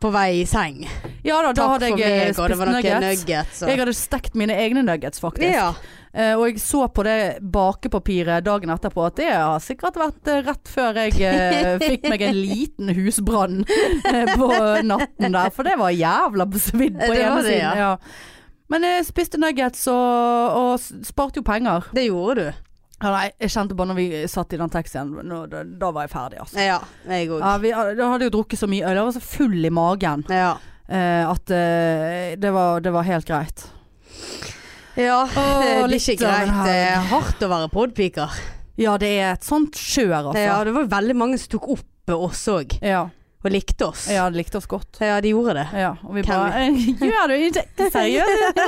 S2: på vei i seng.
S1: Ja da, da
S2: Takk
S1: hadde
S2: for
S1: jeg eh,
S2: meg, og det
S1: spist
S2: var noen
S1: nuggets.
S2: nuggets.
S1: Jeg
S2: og-
S1: hadde stekt mine egne nuggets, faktisk.
S2: Ja.
S1: Eh, og jeg så på det bakepapiret dagen etterpå at det har sikkert vært eh, rett før jeg
S2: [laughs]
S1: eh, fikk meg en liten husbrann eh, på natten der, for det var jævla besvidd på
S2: Det var
S1: ene
S2: det,
S1: siden. Ja. Men jeg spiste nuggets og, og s- sparte jo penger.
S2: Det gjorde du.
S1: Ja, nei, jeg kjente bare når vi satt i den taxien, nå, da, da var jeg ferdig, altså.
S2: Ja, jeg òg.
S1: Ja, vi, hadde- da hadde jeg jo drukket så mye øl, jeg var så full i magen
S2: Ja.
S1: eh, at eh, det, var, det var helt greit.
S2: ja.
S1: Åh,
S2: [laughs] det er ikke
S1: litt av en
S2: greit. Det
S1: helg.
S2: er hardt å være podpiker.
S1: Ja, det er et sånt kjør, altså.
S2: Ja, det var veldig mange som tok opp oss òg,
S1: Ja,
S2: og likte oss.
S1: ja de likte oss godt.
S2: Ja, de gjorde
S1: [laughs]
S2: det.
S1: Ja, og vi
S2: Kan
S1: bare [laughs] Gjør du ikke
S2: [laughs]
S1: seriøst?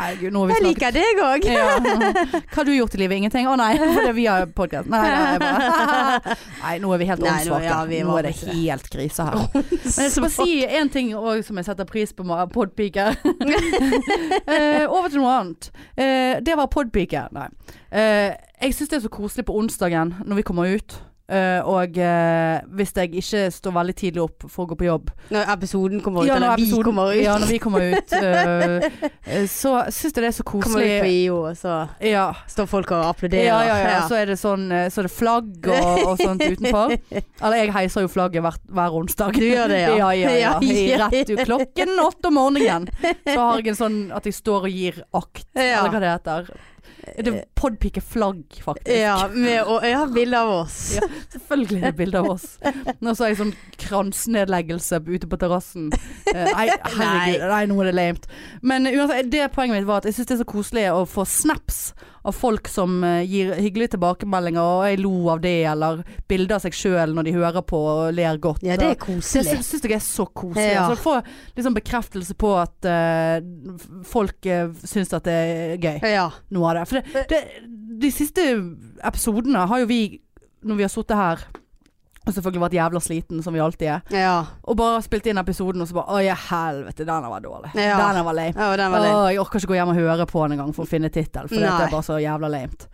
S1: Nei, gud, nå har vi
S2: Ah, Jeg
S1: snakket
S2: liker deg òg.
S1: ja. Hva har du gjort i livet? Ingenting? Å nei, [laughs] fordi vi har podkast. Nei, nei, jeg bare. [laughs] nei, nå er vi helt
S2: Nei, nå-
S1: åndssvake.
S2: ja, vi
S1: nå
S2: var
S1: er det
S2: ikke det.
S1: helt krise
S2: [laughs]
S1: her. Men jeg skal bare si én ting òg som jeg setter pris på med podpiker. [laughs] eh, over til noe annet. Eh, det var podpiker. Nei. Eh, jeg syns det er så koselig på onsdagen når vi kommer ut. Eh, og eh, hvis jeg ikke står veldig tidlig opp for å gå på jobb
S2: Når episoden kommer ut,
S1: Ja, når
S2: eller vi
S1: episoden-
S2: kommer ut.
S1: Ja, når vi kommer ut. eh, så syns jeg det er så
S2: kommer ut på
S1: koselig.
S2: IO, og så
S1: Ja.
S2: står folk og applauderer.
S1: Ja, ja, ja. Så er det sånn eh, Så er det flagg og, og sånt
S2: [laughs]
S1: utenfor. Eller jeg heiser jo flagget hver, hver onsdag.
S2: Du gjør det, ja.
S1: Ja, ja, ja. I
S2: [laughs] Ja, ja.
S1: rett ut klokken åtte om morgenen. Så har jeg en sånn at jeg står og gir akt,
S2: Ja. Eh.
S1: eller hva det heter. Det er podpike-flagg, faktisk.
S2: Ja, med, og jeg har bilde av oss.
S1: Ja. Selvfølgelig er det bilde av oss. Nå så har jeg sånn kransnedleggelse ute på terrassen. Eh,
S2: [laughs]
S1: Nei, herregud. Nei, nå er det lame. Men uansett, det poenget mitt var at jeg syns det er så koselig å få snaps av folk som eh, gir hyggelige tilbakemeldinger, og jeg lo av det, eller bilder av seg sjøl når de hører på og ler godt.
S2: Ja, det er
S1: og- så
S2: koselig.
S1: jeg syns det er så koselig.
S2: Ja.
S1: Altså, få liksom bekreftelse på at eh, folk uh, syns at det er gøy,
S2: Ja.
S1: noe av det. For det, det, de siste episodene har jo vi, når vi har sittet her, og selvfølgelig vært jævla sliten som vi alltid er,
S2: Ja.
S1: og bare spilt inn episoden, og så bare Å ja, helvete, den var dårlig.
S2: Ja.
S1: Den var lame.
S2: ja og den var litt
S1: Åh, jeg orker ikke gå hjem og høre på den engang for å finne tittel, for det
S2: Nei.
S1: er bare så jævla lamet.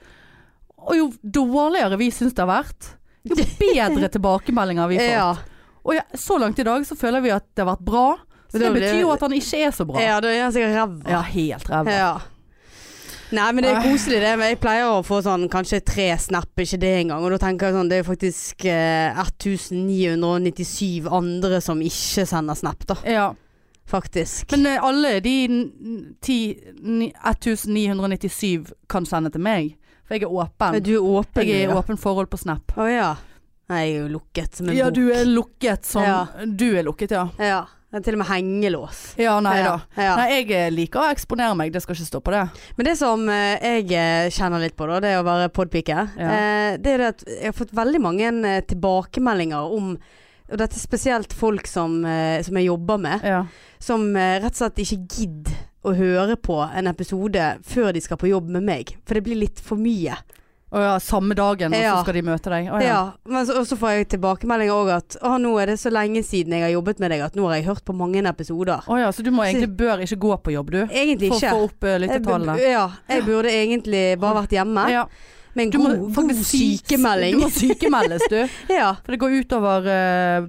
S1: Og jo dårligere vi syns det har vært, jo
S2: [laughs]
S1: bedre tilbakemeldinger [laughs] vi får.
S2: Ja.
S1: Og ja, så langt i dag så føler vi at det har vært bra. Så
S2: Men da
S1: det
S2: blir-
S1: betyr jo at han ikke er så bra.
S2: ja, da er han sikkert ræva.
S1: Ja, helt ræva.
S2: Ja. Nei, men det er koselig det. Men jeg pleier å få sånn kanskje tre snap, ikke det engang. Og da tenker jeg sånn, det er faktisk eh, 1997 andre som ikke sender snap, da.
S1: Ja.
S2: Faktisk.
S1: Men eh, alle de n- n- ti- ni- 1997 kan sende til meg. For jeg er
S2: Men
S1: åpen.
S2: du er åpen.
S1: Jeg er i
S2: du, ja.
S1: åpen forhold på Snap.
S2: Å ja. Nei, jeg er jo lukket som en
S1: Ja,
S2: bok.
S1: du er lukket som
S2: Ja.
S1: Du er lukket, ja.
S2: Ja. Det er til og med hengelås.
S1: Ja, nei
S2: ja.
S1: da.
S2: Ja.
S1: Nei, jeg eh, liker å eksponere meg, det skal ikke stå på det.
S2: Men det som eh, jeg eh, kjenner litt på, da, det er å være podpike,
S1: Ja.
S2: eh, det er det at jeg har fått veldig mange eh, tilbakemeldinger om Og dette er spesielt folk som, eh, som jeg jobber med,
S1: Ja.
S2: som eh, rett og slett ikke gidder å høre på en episode før de skal på jobb med meg. For det blir litt for mye.
S1: Å ja, samme dagen, og så
S2: Ja.
S1: skal de møte deg. Å,
S2: ja.
S1: ja.
S2: men så, og så får jeg tilbakemeldinger òg at å, nå er det så lenge siden jeg har jobbet med deg at nå har jeg hørt på mange episoder.
S1: Å ja, så du må egentlig bør ikke gå på jobb, du.
S2: Egentlig
S1: For å
S2: ikke.
S1: få opp eh,
S2: Jeg bu-
S1: lyttertallene.
S2: Ja, jeg burde egentlig bare vært hjemme
S1: Ja.
S2: med en
S1: Du må
S2: god, god
S1: faktisk sy-
S2: sykemelding.
S1: Du må sykemeldes, [laughs] du.
S2: Ja,
S1: For det går utover eh,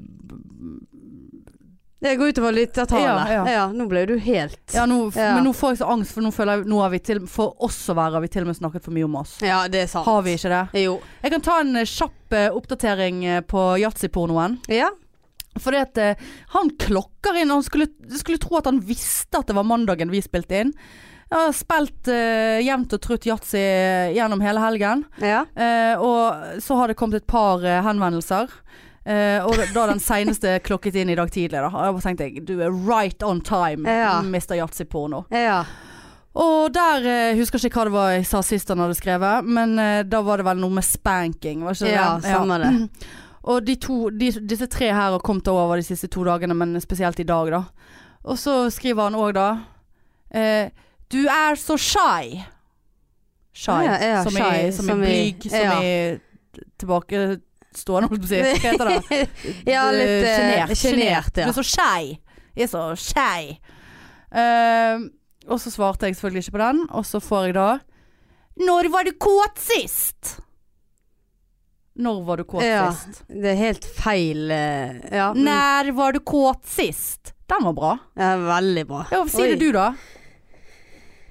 S2: det går utover lyttertallet.
S1: Ja,
S2: Ja,
S1: ja.
S2: nå ble du helt
S1: ja,
S2: ja.
S1: nå,
S2: Ja.
S1: Men nå får jeg så angst, for nå føler jeg nå har vi til, For oss å være har vi til og med snakket for mye om oss.
S2: det er sant.
S1: Har vi ikke det?
S2: Jo.
S1: Jeg kan ta en eh, kjapp eh, oppdatering eh, på yatzypornoen.
S2: Ja.
S1: Fordi at eh, han klokker inn, og han skulle, du skulle tro at han visste at det var mandagen vi spilte inn. Jeg har spilt eh, jevnt og trutt yatzy eh, gjennom hele helgen.
S2: ja.
S1: Eh, og så har det kommet et par eh, henvendelser. Eh, og da den seneste [laughs] klokket inn i dag tidlig, da. Og da tenkte jeg du er right on time,
S2: Ja.
S1: Mr. Yatzy-porno.
S2: ja.
S1: Og der eh, husker jeg ikke hva det var jeg sa sist han hadde skrevet, men eh, da var det vel noe med spanking, var ikke det?
S2: Ja, stemmer det.
S1: Mm. Og de to, de, disse tre her har kommet over de siste to dagene, men spesielt i dag, da. Og så skriver han òg da eh, Du er så shy. Shy.
S2: Ja, ja,
S1: som,
S2: shy,
S1: i, som,
S2: som i-
S1: i blyg, som
S2: ja.
S1: i tilbakestående, holdt jeg på å si. Hva heter det?
S2: [laughs] ja, litt
S1: Eh,
S2: eh, sjenert.
S1: Du
S2: Ja.
S1: er så skei. Jeg er så skei. Eh, og så svarte jeg selvfølgelig ikke på den, og så får jeg da Når var du kåt sist? Når var du kåt
S2: Ja.
S1: sist?
S2: Det er helt feil eh, Ja. mm.
S1: Når var du kåt sist? Den var bra.
S2: Ja, veldig bra.
S1: Ja, si
S2: Oi.
S1: det du, da.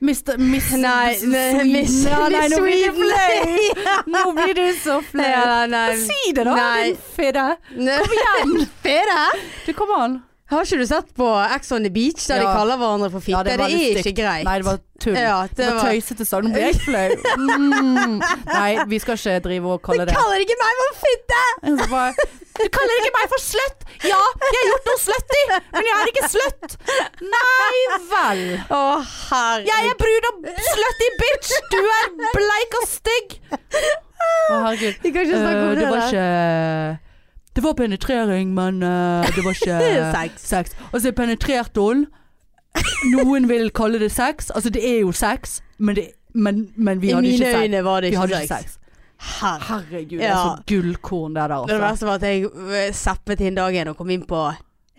S1: Mr. [laughs] Miss
S2: Nei, nei,
S1: Sweden. [laughs]
S2: Miss-
S1: Ja, nei,
S2: Miss
S1: nå
S2: [laughs]
S1: blir du
S2: Sweden.
S1: [laughs] flau. Nå blir du så flau.
S2: Ja, nei,
S1: Si det, da,
S2: Nei.
S1: din fidde.
S2: nei. Kom [laughs] igjen! Fede!
S1: Du, kom an.
S2: Har ikke du sett på Ex on the Beach, der de
S1: Ja.
S2: kaller hverandre for fitte?
S1: Ja, det
S2: det,
S1: var litt
S2: er ikke
S1: stygt.
S2: greit.
S1: Nei, det var tull.
S2: ja,
S1: Det var tøysete sa du. Nå blir jeg [laughs] flau. Mm. Nei, vi skal ikke drive og kalle
S2: Du
S1: det
S2: kaller ikke meg for fitte!
S1: Så bare, Du kaller ikke meg for sløtt! Ja, jeg har gjort noe slutty, men jeg er ikke sløtt. Nei vel.
S2: Å, herregud.
S1: Jeg er brun og slutty bitch! Du er bleik og stygg! Å, herregud.
S2: Vi kan ikke snakke om
S1: Eh,
S2: det,
S1: det var
S2: der.
S1: ikke eh, Det var penetrering, men eh, det var
S2: [laughs]
S1: ikke
S2: Sex.
S1: sex. Altså, penetrerte hun. Noen vil kalle det sex. Altså, det er jo sex, men, det, men, men vi
S2: I
S1: hadde
S2: mine
S1: ikke sex.
S2: øyne var det
S1: Vi
S2: ikke
S1: hadde ikke
S2: sex.
S1: sex.
S2: Herregud.
S1: Herregud, det
S2: Ja.
S1: er så gullkorn det der,
S2: Det
S1: altså.
S2: verste var at jeg eh, zappet inn dagen og kom inn på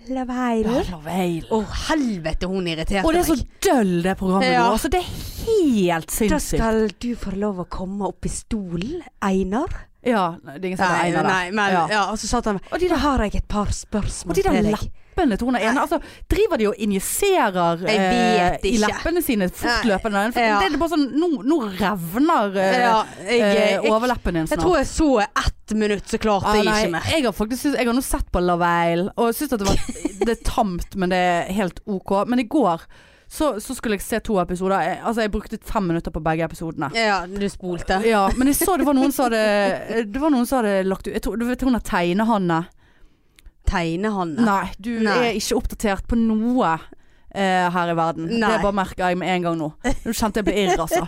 S2: Love
S1: Ja,
S2: Island.
S1: Love Island.
S2: Å, helvete, hun irriterte
S1: Og det er så
S2: meg.
S1: døll, det programmet
S2: Ja.
S1: nå. Altså, det er helt
S2: Da
S1: sinnssykt.
S2: skal du få lov å komme opp i stolen, Einar.
S1: Ja, nei, det er ingen som
S2: Nei,
S1: regner
S2: nei, men ja.
S1: Ja.
S2: Og så satt han
S1: Og
S2: Og
S1: de
S2: de da har jeg et par spørsmål
S1: Og de der
S2: til deg.
S1: leppene til hun er ene Altså, driver de og injiserer eh,
S2: Jeg vet
S1: i
S2: ikke.
S1: leppene sine fortløpende? For
S2: Ja.
S1: Det er bare sånn Nå, nå revner eh,
S2: Ja, jeg,
S1: eh,
S2: jeg, jeg,
S1: overleppen din snart.
S2: tror jeg så ett minutt, så klarte
S1: Ah,
S2: jeg
S1: nei,
S2: ikke mer.
S1: Jeg har faktisk syns- jeg har nå sett på Laveil, og syns at det var
S2: [laughs]
S1: det er tamt, men det er helt OK. Men i går så, så skulle jeg se to episoder. Jeg, altså, jeg brukte fem minutter på begge episodene.
S2: Ja, du spolte.
S1: Ja, men jeg så det var noen som hadde Det var noen som hadde lagt ut jeg tror, Du vet hun har eh. tegnehanne?
S2: Tegne han
S1: Nei, du
S2: Nei.
S1: er ikke oppdatert på noe. eh, her i verden.
S2: Nei.
S1: Det bare merker jeg med en gang nå. Nå kjente jeg ble irr, altså.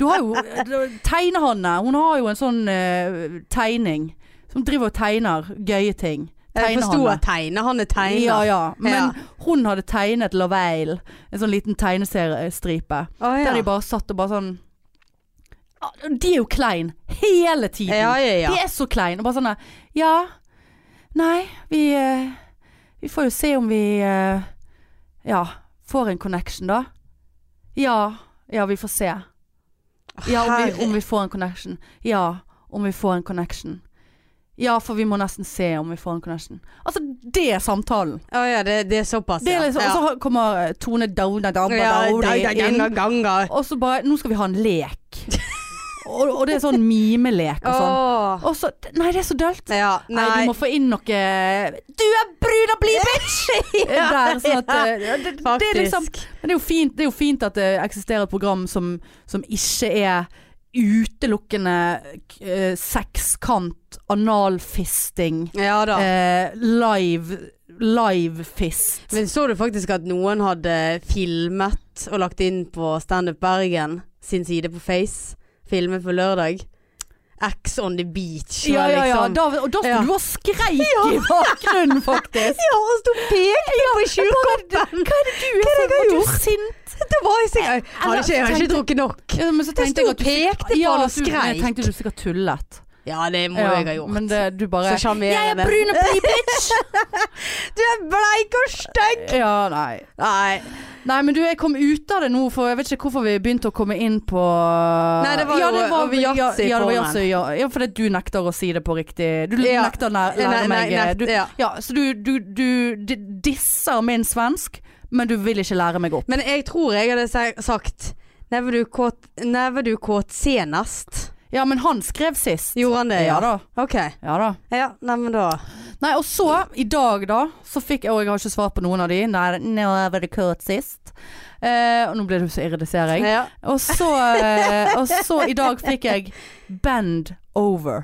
S1: Du har jo Tegnehanne. Hun har jo en sånn eh, tegning. Som driver og tegner gøye ting.
S2: Jeg forsto
S1: Tegnehanne.
S2: at tegne han er tegner.
S1: Ja, ja. Men
S2: Ja.
S1: hun hadde tegnet Laveil, en sånn liten tegneseriestripe.
S2: Å, ja.
S1: Der de bare satt og bare sånn Ah, De er jo klein hele tiden.
S2: ja, ja, ja.
S1: De er så klein og bare sånn der, Ja, nei, vi eh, Vi får jo se om vi eh, Ja, får en connection da. Ja, ja, vi får se. Ja, om vi, om vi får en connection. Ja, om vi får en connection. Ja, for vi må nesten se om vi får en connection. Altså, det er samtalen.
S2: Å ja, det, det er såpass,
S1: Det er liksom,
S2: Altså, ja.
S1: Og så kommer Tone Dauna Dabba
S2: ja,
S1: Daudi
S2: ja, ja,
S1: inn.
S2: ganger, ganger.
S1: Og så bare Nå skal vi ha en lek.
S2: [laughs]
S1: og, og det er sånn mimelek og sånn.
S2: Åh.
S1: Og så Nei, det er så dølt.
S2: Ja,
S1: Nei. du må
S2: [laughs]
S1: få inn noe Du er brun og blid, bitch! Der, sånn at, eh, det, det, er liksom,
S2: Faktisk.
S1: men det, er jo fint, det er jo fint at det eksisterer et program som, som ikke er utelukkende eh, sexkant, analfisting,
S2: Ja da.
S1: eh, live Livefist.
S2: Men så du faktisk at noen hadde filmet og lagt inn på Standup Bergen sin side på Face? Filmet på lørdag. Ex on the beach.
S1: Ja,
S2: og
S1: ja, ja.
S2: liksom-
S1: Da, og da sto
S2: Ja.
S1: du og skreik i bakgrunnen,
S2: [laughs]
S1: faktisk.
S2: Ja, og stod og pekte på tjuvkoppen.
S1: Hva er det du er
S2: Hva er det
S1: sånn?
S2: jeg har
S1: Var du
S2: gjort?
S1: sint?
S2: Det var jeg sikkert. Jeg hadde ikke, jeg hadde ikke
S1: Tenkte-
S2: drukket nok.
S1: Ja, men så
S2: Jeg
S1: tenkte
S2: sto
S1: jeg
S2: og
S1: at du
S2: pekte på
S1: ja,
S2: han og
S1: du- Jeg
S2: skreik.
S1: tenkte du sikkert tullet.
S2: Ja, det må
S1: Ja,
S2: jeg ha gjort.
S1: Men det, du bare
S2: Så sjarmerende.
S1: og
S2: [laughs]
S1: blid, bitch!
S2: Du er bleik og stygg!
S1: ja, nei.
S2: Nei.
S1: Nei, men du, jeg kom ut av det nå, for jeg vet ikke hvorfor vi begynte å komme inn på
S2: Nei, det var
S1: ja,
S2: jo
S1: det var,
S2: over
S1: Ja,
S2: yatzy
S1: ja, det var
S2: formen.
S1: yatzy, ja. ja, fordi du nekter å si det på riktig. Du
S2: Ja.
S1: nekter å lære,
S2: Nei,
S1: lære
S2: nei,
S1: meg eh,
S2: nei,
S1: du,
S2: ja.
S1: ja, Så du, du, du di- disser min svensk, men du vil ikke lære meg opp.
S2: Men jeg tror jeg hadde se- sagt Never du kåt, never du kåt senest?
S1: Ja, men han skrev sist.
S2: Gjorde han det?
S1: Ja da.
S2: Ok.
S1: Ja da.
S2: Ja, nei, men da
S1: Nei, og så, i dag da, så fikk jeg Og jeg har ikke svart på noen av de. Nei, never the cut sist. Eh, og nå ble du så irriterer jeg.
S2: ja.
S1: Og så, eh, og så i dag fikk jeg bend over.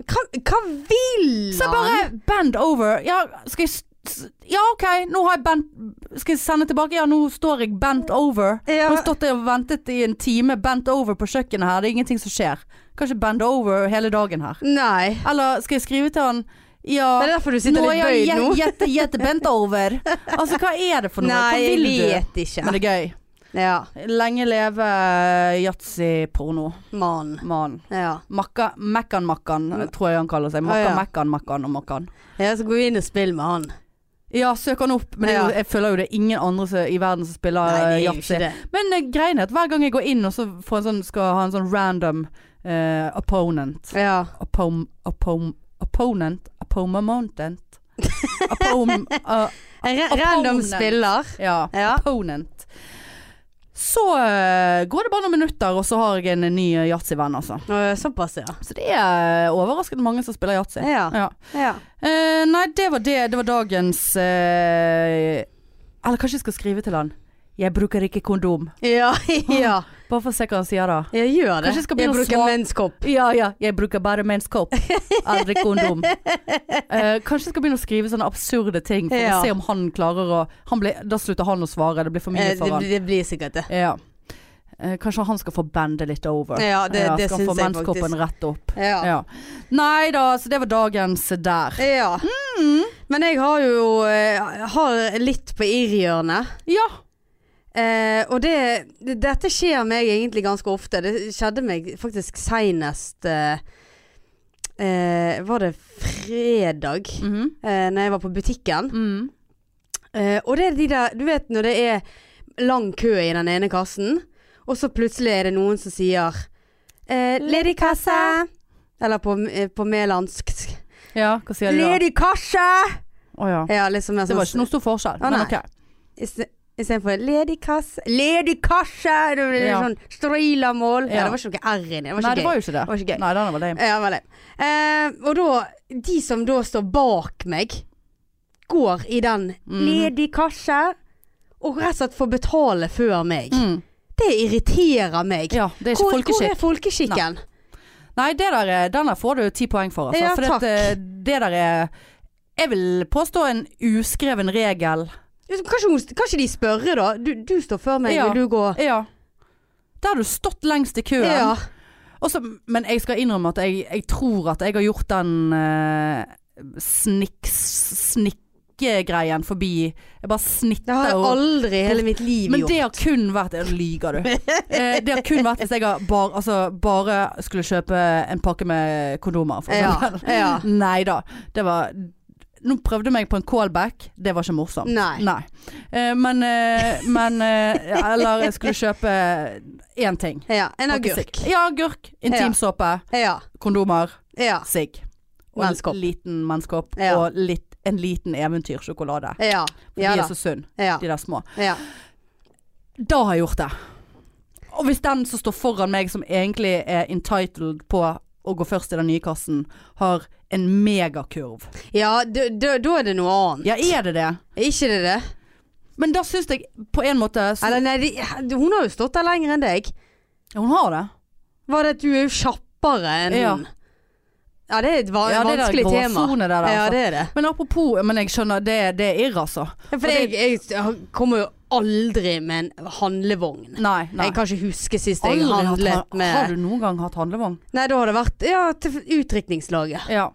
S2: hva, hva vil
S1: Så jeg bare bend over. Ja, skal jeg s- s- Ja, OK, nå har jeg bent Skal jeg sende tilbake? Ja, nå står jeg bent over. Nå
S2: Ja.
S1: har jeg stått der og ventet i en time bent over på kjøkkenet her. Det er ingenting som skjer. Kan ikke bend over hele dagen her.
S2: Nei.
S1: Eller skal jeg skrive til han Ja.
S2: Det er derfor du sitter
S1: nå er
S2: litt
S1: jeg
S2: bøyd
S1: jette,
S2: nå.
S1: jette, jette bent over. Altså, hva er det for noe?
S2: Nei,
S1: hva
S2: jeg
S1: vil du?
S2: vet
S1: Men
S2: ikke.
S1: det er gøy.
S2: Ja.
S1: Lenge leve yatzy-porno.
S2: Mann.
S1: Mann.
S2: Ja.
S1: Makka- Mekkan-makkan, tror jeg han kaller seg. Makka,
S2: Å, ja.
S1: mekkan, makkan og makkan.
S2: ja, så går vi inn og spiller med han.
S1: Ja, søk han opp, men det er jo,
S2: Ja.
S1: jeg føler jo det er ingen andre som, i verden som
S2: Nei,
S1: spiller
S2: det
S1: eh,
S2: er jo
S1: yatzy.
S2: ikke det.
S1: Men eh, greien er at hver gang jeg går inn og så får en sånn, skal ha en sånn random eh, opponent
S2: Ja.
S1: Oppom... Oppom... Opponent? Opomamontent? [laughs] Opom... Uh,
S2: En ra-
S1: Opponent.
S2: random spiller.
S1: ja.
S2: Ja.
S1: Opponent. Så eh, går det bare noen minutter, og så har jeg en ny eh, yatzy-venn, altså.
S2: Å, Såpass, ja.
S1: Så det er eh, overraskende mange som spiller yatzy.
S2: Ja.
S1: Ja.
S2: ja.
S1: Eh, nei, det var det. Det var dagens eh, Eller kanskje jeg skal skrive til han. Jeg bruker ikke kondom.
S2: Ja, [laughs] ja.
S1: Bare for å se hva han sier da.
S2: Jeg gjør det.
S1: Kanskje jeg skal
S2: jeg
S1: begynne å
S2: bruker
S1: svare-
S2: menskopp.
S1: Ja ja, jeg bruker bare menskopp. Aldri kondom. Eh, kanskje jeg skal begynne å skrive sånne absurde ting for
S2: Ja.
S1: å se om han klarer å han blir- Da slutter han å svare, det blir for mye
S2: Eh,
S1: for
S2: Det,
S1: han.
S2: det blir sikkert det.
S1: Ja. Eh, kanskje han skal få bandet litt over.
S2: Ja, det- det
S1: skal få
S2: syns jeg
S1: menskoppen rett opp.
S2: Ja.
S1: Ja. Nei da, så det var dagens der.
S2: Ja. Men jeg har jo eh, har litt på irrhjørnet.
S1: Ja.
S2: Eh, og det, det, dette skjer meg egentlig ganske ofte. Det skjedde meg faktisk seinest eh, eh, Var det fredag?
S1: Mhm.
S2: Eh, når jeg var på butikken.
S1: mm.
S2: Eh, og det er de der Du vet når det er lang kø i den ene kassen, og så plutselig er det noen som sier eh, 'Ledig kasse'. Eller på, eh, på melandsk
S1: Ja, hva sier de da?
S2: 'Ledig kasse'!
S1: Å ja.
S2: Ja, liksom mer
S1: Altså, Det var
S2: sånn-
S1: ikke noe stor forskjell.
S2: Å,
S1: men
S2: nei.
S1: ok.
S2: Iste- Istedenfor ledig kasse Ledig kasse! Det ble
S1: Ja.
S2: sånn Strilamål. Ja.
S1: Ja.
S2: det var ikke noe R inni. Det var ikke
S1: Nei,
S2: gøy.
S1: det var jo ikke det.
S2: Det var ikke gøy.
S1: Nei, den var lame.
S2: Ja, veldig. Eh, og da De som da står bak meg, går i den
S1: Mm. Mhm.
S2: ledig kasse, og rett og slett får betale før meg.
S1: Mm.
S2: Det irriterer meg.
S1: Ja, det er ikke
S2: Hvor, hvor
S1: folkeskikk.
S2: er folkeskikken?
S1: Nei, det der er, den der får du ti poeng for. Altså.
S2: Ja,
S1: for
S2: takk.
S1: Det, det der er Jeg vil påstå en uskreven regel.
S2: Kanskje, hun- kanskje de spørre, da. Du, du står før meg,
S1: Ja.
S2: og du går
S1: Ja. Der har du stått lengst i køen.
S2: Ja.
S1: Og så- men jeg skal innrømme at jeg, jeg tror at jeg har gjort den eh, sniks, snikkegreien forbi. Jeg bare
S2: Det
S1: snitter
S2: har jeg
S1: og
S2: aldri i hele mitt liv
S1: Men
S2: gjort.
S1: det har kun vært Nå
S2: [laughs]
S1: lyver du. Eh, Det har kun vært hvis jeg har bar, altså, bare skulle kjøpe en pakke med kondomer, for
S2: Ja,
S1: eksempel. [laughs]
S2: ja.
S1: Nei da. Det var Nå prøvde jeg meg på en callback. Det var ikke morsomt.
S2: Nei.
S1: Eh, Men, eh, men eh, Eller jeg skulle kjøpe én ting.
S2: Ja, en
S1: Pakke
S2: agurk.
S1: sigg. Ja, agurk. Intimsåpe.
S2: Ja.
S1: Kondomer.
S2: Ja.
S1: Sigg. Og
S2: Menskopp.
S1: en liten menskopp.
S2: Ja.
S1: Og litt, en liten eventyrsjokolade.
S2: Ja.
S1: For
S2: Ja
S1: de
S2: da.
S1: er så sunn,
S2: Ja.
S1: de der små.
S2: ja.
S1: Da har jeg gjort det. Og hvis den som står foran meg, som egentlig er entitled på å gå først i den nye kassen, har en megakurv.
S2: ja da, da, da er det noe annet.
S1: Ja, er det det?
S2: Er ikke det det?
S1: Men da syns jeg på en måte så,
S2: Eller nei, de, hun har jo stått der lenger enn deg.
S1: Ja, Hun har det.
S2: Var det at du er jo kjappere enn
S1: Ja.
S2: hun? Ja, det er et va
S1: Ja, det er
S2: vanskelig
S1: der
S2: tema.
S1: gråsone der, altså.
S2: Ja, det er det.
S1: Men apropos, men jeg skjønner, det, det er irr, altså.
S2: Ja, for jeg, jeg kommer jo aldri med en handlevogn.
S1: Nei. nei.
S2: Jeg kan ikke huske sist jeg
S1: Aldri hatt
S2: handlet
S1: han-
S2: med
S1: Har du noen gang hatt handlevogn?
S2: Nei, da har det vært ja, til utdrikningslaget.
S1: Ja.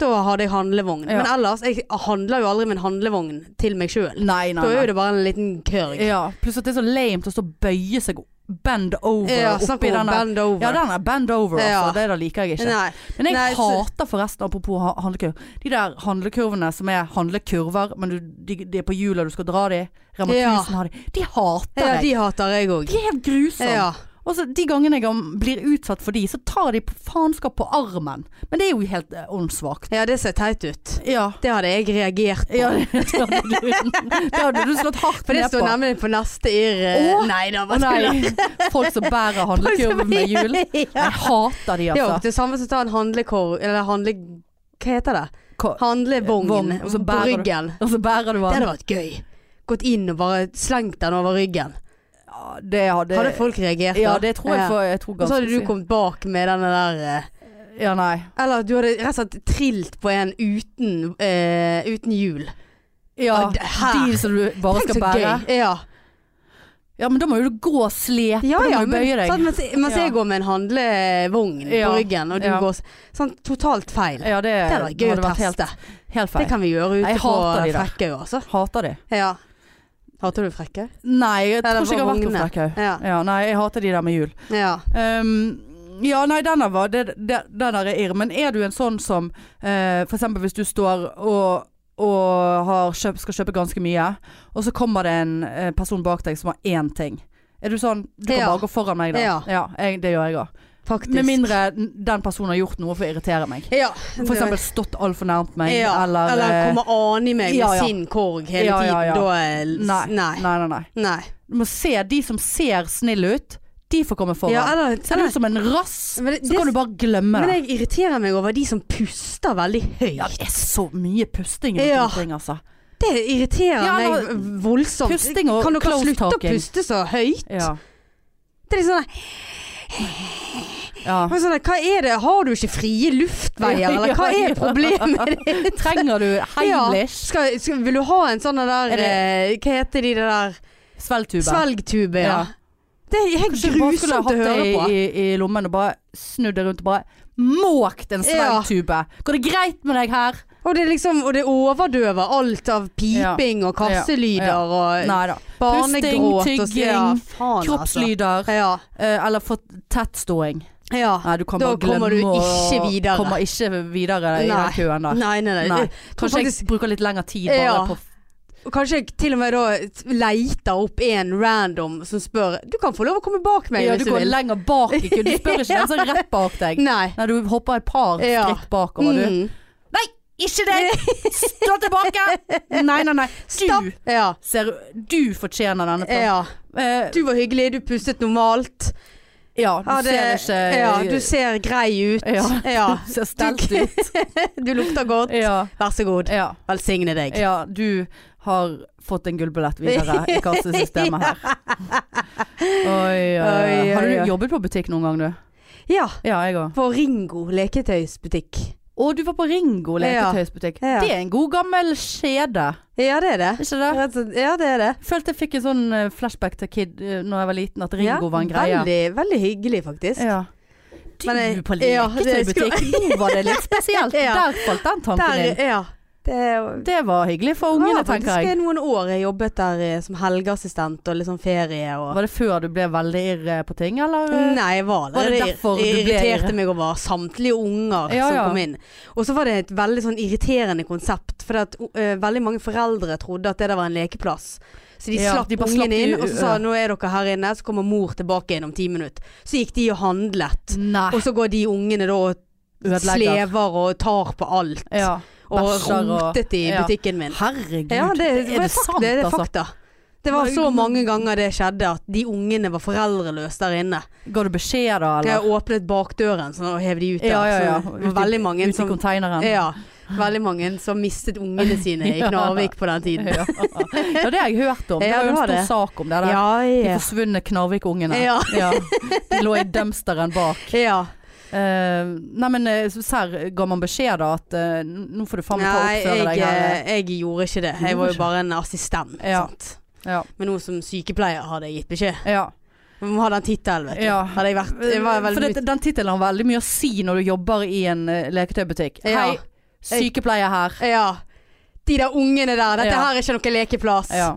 S2: Da hadde jeg handlevogn.
S1: Ja.
S2: Men ellers, jeg handler jo aldri med en handlevogn til meg sjøl.
S1: Nei, nei.
S2: Da er
S1: nei.
S2: jo det bare en liten kørg.
S1: Ja, pluss at det er så lame å stå og bøye seg bend over
S2: Ja, snakk
S1: oppi
S2: om
S1: den der.
S2: bend over.
S1: Ja, den er bend over, altså.
S2: Ja.
S1: Det der liker jeg ikke.
S2: Nei.
S1: Men jeg
S2: Nei, så-
S1: hater forresten, apropos ha- handlekurv, de der handlekurvene som er handlekurver, men du, de, de er på hjul og du skal dra de. Rema
S2: Ja.
S1: 1000 har de. De hater
S2: Ja,
S1: jeg.
S2: de hater jeg òg.
S1: De er helt grusomme.
S2: Ja.
S1: Og så de gangene jeg blir utsatt for de, så tar de på faenskap på armen. Men det er jo helt eh, åndssvakt.
S2: ja, det ser teit ut.
S1: Ja.
S2: Det hadde jeg reagert på.
S1: ja [laughs] det, hadde du, det hadde du slått hardt
S2: For det
S1: ned
S2: står
S1: på.
S2: nemlig på neste irr.
S1: Å!
S2: Nei da,
S1: Å
S2: hva skulle jeg-
S1: nei. Folk som
S2: [laughs]
S1: bærer handlekurv med hjul.
S2: Ja.
S1: Jeg hater de,
S2: Det er jo
S1: altså.
S2: det samme som å ta en handlekorv Eller handle... Hva heter det?
S1: Ko-
S2: Handlevogn
S1: Vogn, og så
S2: på
S1: bærer du-
S2: ryggen.
S1: Og så bærer du den.
S2: Det hadde vært gøy. Gått inn og bare slengt den over ryggen.
S1: Ja, det hadde
S2: Hadde folk reagert
S1: Ja, det tror jeg,
S2: Ja.
S1: for, jeg tror
S2: Og så
S1: ganske
S2: hadde du
S1: sikkert.
S2: kommet bak med denne der eh,
S1: Ja, nei.
S2: Eller du hadde rett og slett trilt på en uten, eh, uten hjul.
S1: Ja,
S2: Ah, d- her.
S1: de som du bare
S2: Tenk
S1: skal
S2: så
S1: bære.
S2: gøy. Ja,
S1: Ja, men da må jo du gå og slepe.
S2: ja,
S1: da
S2: ja
S1: må du bøye deg.
S2: sant, mens, mens
S1: Ja.
S2: jeg går med en handlevogn
S1: Ja.
S2: på ryggen, og du
S1: Ja.
S2: går s- sånn totalt feil.
S1: Ja, det,
S2: Det hadde vært gøy å
S1: vært helt,
S2: teste.
S1: helt
S2: Det
S1: feil.
S2: kan vi gjøre ute
S1: Jeg
S2: på
S1: hater de der.
S2: Frekkøy også.
S1: Hater de.
S2: Ja. Hater du Frekkøy?
S1: Nei, jeg tror
S2: Eller
S1: ikke jeg har vært på
S2: vognene.
S1: Flekkhaug.
S2: Ja.
S1: Ja, nei, jeg hater de der med hjul.
S2: ja.
S1: Ehm, ja, nei, den der var det, det, Den der er irr. Men er du en sånn som eh, For eksempel hvis du står og og har kjøpt, skal kjøpe ganske mye, og så kommer det en eh, person bak deg som har én ting. Er du sånn Du kan
S2: Ja.
S1: bare gå foran meg, da.
S2: Ja.
S1: jeg, det gjør jeg òg.
S2: Faktisk.
S1: Med mindre n- den personen har gjort noe for å irritere
S2: [laughs]
S1: meg.
S2: ja.
S1: For eksempel stått altfor nærmt meg,
S2: ja.
S1: eller,
S2: Eller
S1: eh,
S2: kommer an i meg med
S1: ja, ja.
S2: sin korg hele
S1: Ja, ja, ja.
S2: tiden. Da er l-
S1: Nei.
S2: Nei.
S1: Nei, nei, nei.
S2: Nei.
S1: Du må se de som ser snille ut, de får komme foran.
S2: Ja, eller,
S1: ser du
S2: eller
S1: ut som en rass,
S2: Men det-
S1: så
S2: det-
S1: kan du bare glemme
S2: Men
S1: det.
S2: jeg irriterer meg over de som puster veldig høyt.
S1: Ja, det er så mye pusting rundt
S2: Ja.
S1: omkring, altså.
S2: Det irriterer
S1: Ja,
S2: meg voldsomt.
S1: Pusting og
S2: kan dere
S1: close
S2: slutte å
S1: talking.
S2: puste så høyt?
S1: Ja.
S2: Det er liksom sånn,
S1: ja.
S2: men sånn, Hva er det? Har du ikke frie luftveier, eller hva
S1: [laughs] Ja, ja.
S2: er problemet ditt?
S1: [laughs] Trenger du Heimlich?
S2: Skal, skal, vil du ha en sånn der
S1: Er det-
S2: eh, Hva heter de der
S1: Svelgtube.
S2: Svelgtube, ja.
S1: Ja.
S2: Det er helt
S1: Kanskje du bare skulle
S2: grusomt å
S1: hatt det
S2: høre
S1: i,
S2: på.
S1: i, i lommen og bare snudd deg rundt og bare måkt en svelgtube. Går det greit med deg her?
S2: Og det, er liksom, og det overdøver alt av piping og kasselyder
S1: Ja.
S2: og
S1: Nei da.
S2: barnegråt.
S1: Pusting,
S2: og så- ja,
S1: tygging,
S2: faen, altså.
S1: Kroppslyder.
S2: Ja.
S1: eh, Eller for tettståing.
S2: ja.
S1: Nei, du kan
S2: Da
S1: bare glemme
S2: kommer du
S1: å-
S2: ikke videre.
S1: Kommer ikke videre i
S2: Nei.
S1: den køen der.
S2: Nei, nei, nei.
S1: Nei.
S2: Jeg tror
S1: Kanskje
S2: faktisk-
S1: jeg bruker litt lengre tid bare
S2: Ja.
S1: på
S2: Og Kanskje jeg til og med da leter opp en random som spør Du kan få lov å komme bak meg
S1: Ja,
S2: hvis
S1: du
S2: du
S1: går
S2: vil.
S1: lenger bak i køen. Du spør ikke den som er rett bak deg.
S2: [laughs] Nei.
S1: Nei, du hopper et par
S2: Ja.
S1: skritt bakover, du.
S2: Mm.
S1: Nei, ikke deg! Stå tilbake! Nei,
S2: [laughs]
S1: nei, nei. Du,
S2: Ja.
S1: ser, du fortjener denne plassen.
S2: ja.
S1: Eh,
S2: Du var hyggelig, du pustet normalt.
S1: ja, du
S2: Ja, det-
S1: ser ikke eh,
S2: Ja, du ser grei ut.
S1: Ja. [laughs]
S2: Ja.
S1: du ser stelt ut.
S2: [laughs] Du lukter godt.
S1: Ja,
S2: Vær så god.
S1: ja,
S2: Velsigne deg.
S1: ja, du har fått en gullbillett videre
S2: [laughs]
S1: i kassesystemet her. Oi, oi, oi.
S2: Oi,
S1: Har
S2: oi, oi.
S1: du jobbet på butikk noen gang, du?
S2: Ja.
S1: Ja, jeg òg.
S2: På Ringo leketøysbutikk.
S1: Å, du var på Ringo
S2: Ja.
S1: leketøysbutikk.
S2: Ja.
S1: Det er en god gammel kjede,
S2: Ja, det er
S1: er
S2: det.
S1: ikke det?
S2: Rett og slett- Ja, det er det.
S1: Følte jeg fikk en sånn eh, flashback til Kid eh, Når jeg var liten, at Ringo
S2: ja,
S1: var en greie.
S2: Veldig, veldig hyggelig, faktisk.
S1: Ja. Du
S2: Men jeg-
S1: på
S2: ja, det skulle-
S1: leketøybutikk, [laughs] nå var det litt spesielt.
S2: Ja.
S1: Der falt den tanken
S2: Der,
S1: inn.
S2: ja. Det er
S1: Det var hyggelig for ungene,
S2: ja, faktisk
S1: tenker jeg.
S2: i noen år jeg jobbet der eh, som helgeassistent og liksom ferie og
S1: Var det før du ble veldig irr eh, på ting, eller?
S2: Nei, jeg var
S1: Var det
S2: allerede
S1: derfor du ble-
S2: irriterte meg over samtlige unger
S1: Ja, ja.
S2: som kom inn. Og så var det et veldig sånn irriterende konsept, for at, eh, veldig mange foreldre trodde at det der var en lekeplass. Så de
S1: Ja,
S2: slapp
S1: de bare slapp
S2: ungen
S1: de-
S2: inn, og så sa
S1: ja.
S2: nå er dere her inne, så kommer mor tilbake igjen om ti minutter. Så gikk de og handlet.
S1: Nei.
S2: Og så går de ungene da og
S1: Ødelegger.
S2: slever og tar på alt.
S1: Ja.
S2: og
S1: bæsjer og-
S2: rotet i
S1: ja.
S2: butikken min.
S1: Herregud.
S2: Ja, det,
S1: er
S2: men
S1: det
S2: fak-
S1: sant,
S2: det, det er
S1: altså?
S2: fakta. Det var så mange ganger det skjedde at de ungene var foreldreløse der inne.
S1: Ga du beskjed da, eller?
S2: Jeg åpnet bakdøren sånn, og hev de ut der.
S1: Ja, ja, ja.
S2: Så det
S1: Ut i-
S2: var veldig mange,
S1: Ute i
S2: som,
S1: konteineren.
S2: ja, veldig mange som mistet ungene sine
S1: [laughs]
S2: i
S1: Ja.
S2: Knarvik på den tiden.
S1: Ja. [laughs] ja, det har jeg hørt om. Det
S2: Ja,
S1: var jo
S2: det
S1: en
S2: var
S1: stor
S2: det.
S1: sak om det. Der.
S2: Ja,
S1: De
S2: ja.
S1: forsvunne Knarvik-ungene.
S2: Ja.
S1: Ja. De lå i dumpsteren bak.
S2: ja.
S1: Eh, nei, men eh, serr, ga man beskjed da at eh, nå får du faen meg ta
S2: Nei, jeg,
S1: oppføre deg her?
S2: eh, jeg gjorde ikke det. Jeg
S1: Gjorde
S2: var jo
S1: ikke?
S2: bare en assistent.
S1: Ja.
S2: Sant?
S1: Ja.
S2: Men nå som sykepleier hadde jeg gitt beskjed.
S1: ja.
S2: Vi må ha den tittelen, vet du.
S1: Ja.
S2: Hadde jeg vært jeg var
S1: For
S2: veldig
S1: det, den tittelen har veldig mye å si når du jobber i en eh, leketøybutikk.
S2: Ja.
S1: Hei, sykepleier her.
S2: Ja. De der ungene der. Dette
S1: Ja.
S2: her er ikke noen lekeplass.
S1: Ja.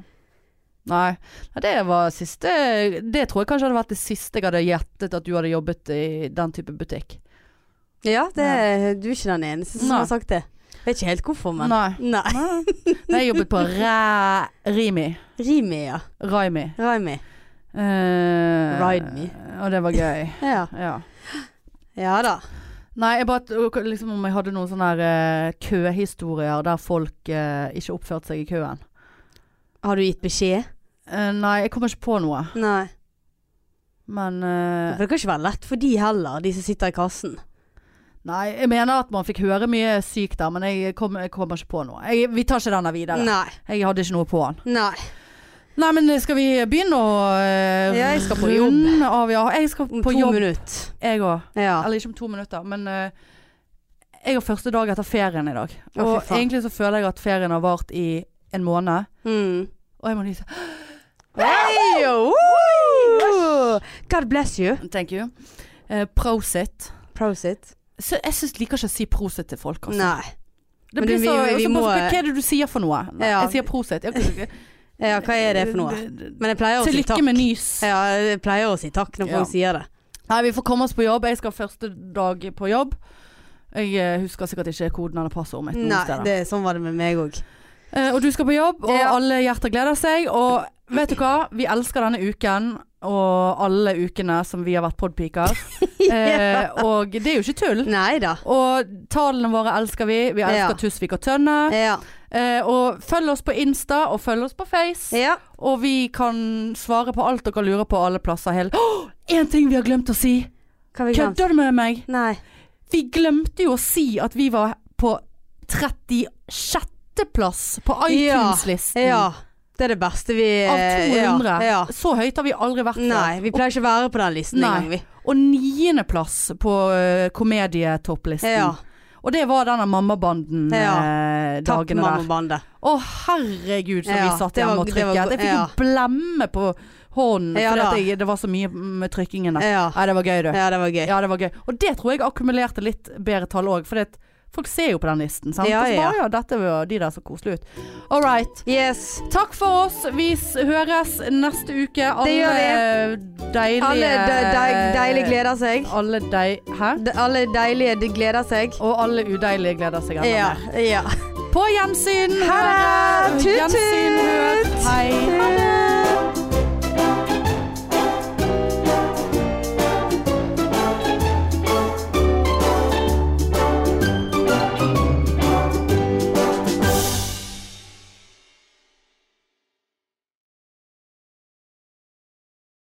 S1: Nei. Nei, det var siste Det tror jeg kanskje hadde vært det siste jeg hadde gjettet at du hadde jobbet i den type butikk.
S2: Ja, det, du er ikke den eneste som
S1: Nei.
S2: har sagt det. Vet ikke helt hvorfor, men
S1: Nei.
S2: Nei.
S1: Nei, jeg jobbet på Ræ... Rimi.
S2: Rimi, ja.
S1: Raimi.
S2: Raimi.
S1: Eh,
S2: Ride me.
S1: Og det var gøy.
S2: Ja.
S1: Ja.
S2: ja da.
S1: Nei, jeg bare, t- liksom om jeg hadde noen sånne her, eh, køhistorier der folk eh, ikke oppførte seg i køen.
S2: Har du gitt beskjed?
S1: Eh, nei, jeg kommer ikke på noe.
S2: Nei.
S1: Men eh,
S2: For det kan ikke være lett for de heller, de som sitter i kassen.
S1: Nei, jeg mener at man fikk høre mye sykt der, men jeg, kom, jeg kommer ikke på noe. Jeg, vi tar ikke denne videre.
S2: Nei.
S1: Jeg hadde ikke noe på den.
S2: Nei.
S1: Nei, men skal vi begynne å eh,
S2: Ja, jeg skal på
S1: runde Av, ja, jeg skal
S2: Om
S1: på
S2: to
S1: jobb,
S2: minutter.
S1: jeg òg.
S2: Ja.
S1: Eller ikke om to minutter, men eh, jeg har første dag etter ferien i dag.
S2: Å, fy
S1: Og
S2: faen.
S1: egentlig så føler jeg at ferien har vart i en måned.
S2: Mm.
S1: Og jeg må nyse.
S2: Hey, woo! God bless you.
S1: Thank you. Eh, prosit.
S2: Prosit.
S1: Så jeg syns liker ikke å si prosit til folk. Altså.
S2: Nei.
S1: Det
S2: men
S1: blir
S2: vi-
S1: så,
S2: vi
S1: også
S2: må-
S1: bare, sånn, Hva er det du sier for noe? Nei,
S2: Ja.
S1: Jeg sier prosit. Jeg,
S2: Ja, [laughs] hva er det for noe? Men jeg pleier å
S1: Til
S2: si
S1: lykke
S2: takk.
S1: med nys.
S2: Ja, jeg pleier å si takk når
S1: Ja.
S2: folk sier det.
S1: Nei, vi får komme oss på jobb. Jeg skal første dag på jobb. Jeg eh, husker sikkert ikke koden eller passordet mitt noen
S2: Nei,
S1: steder.
S2: det, sånn var det med meg òg.
S1: Eh, og du skal på jobb, og
S2: Ja.
S1: alle hjerter gleder seg. Og vet du hva? Vi elsker denne uken og alle ukene som vi har vært
S2: [laughs]
S1: podpiker. Eh, og det er jo ikke tull.
S2: Nei da.
S1: Og tallene våre elsker vi. Vi elsker
S2: Ja.
S1: Tusvik og Tønne.
S2: Ja.
S1: Eh, og følg oss på Insta, og følg oss på Face.
S2: ja.
S1: Og vi kan svare på alt dere lurer på alle plasser. Hele. Åh, en ting vi har glemt å si!
S2: Hva har vi glemt?
S1: Kødder du med meg?
S2: Nei.
S1: Vi glemte jo å si at vi var på 36. plass på iTunes-listen
S2: Ja. Det er det beste vi
S1: av
S2: eh,
S1: 200.
S2: Ja. ja.
S1: Så høyt har vi aldri vært
S2: Nei, vi pleier ikke å være på den listen
S1: Nei.
S2: engang, vi.
S1: Og niendeplass på uh, komedietopplisten.
S2: Ja.
S1: Og det var denne
S2: Takk,
S1: mammabanden-dagene der.
S2: mammabande.
S1: Å herregud som
S2: Ja,
S1: vi satt
S2: det var-
S1: hjemme og
S2: det var-
S1: trykket. jeg fikk jo
S2: ja.
S1: blemme på hånden
S2: Ja,
S1: fordi
S2: da.
S1: at jeg, det var så mye med trykkingen. der.
S2: Ja.
S1: Nei, det var gøy, du.
S2: ja, det var gøy.
S1: Ja, det var gøy. Og det tror jeg akkumulerte litt bedre tall òg, for folk ser jo på den listen. Sant?
S2: Ja,
S1: og så
S2: ja.
S1: bare, ja, dette var de der så koselige ut. All right.
S2: Yes.
S1: Takk for oss. Vi s- høres neste uke. Alle
S2: gjør
S1: deilige
S2: Alle de,
S1: eh,
S2: de, deilige gleder seg.
S1: Alle deig... Hæ?
S2: De, alle deilige de gleder seg.
S1: Og alle udeilige gleder seg enda
S2: Ja.
S1: mer.
S2: ja.
S1: På gjensyn.
S2: Ha det! Tut, tut!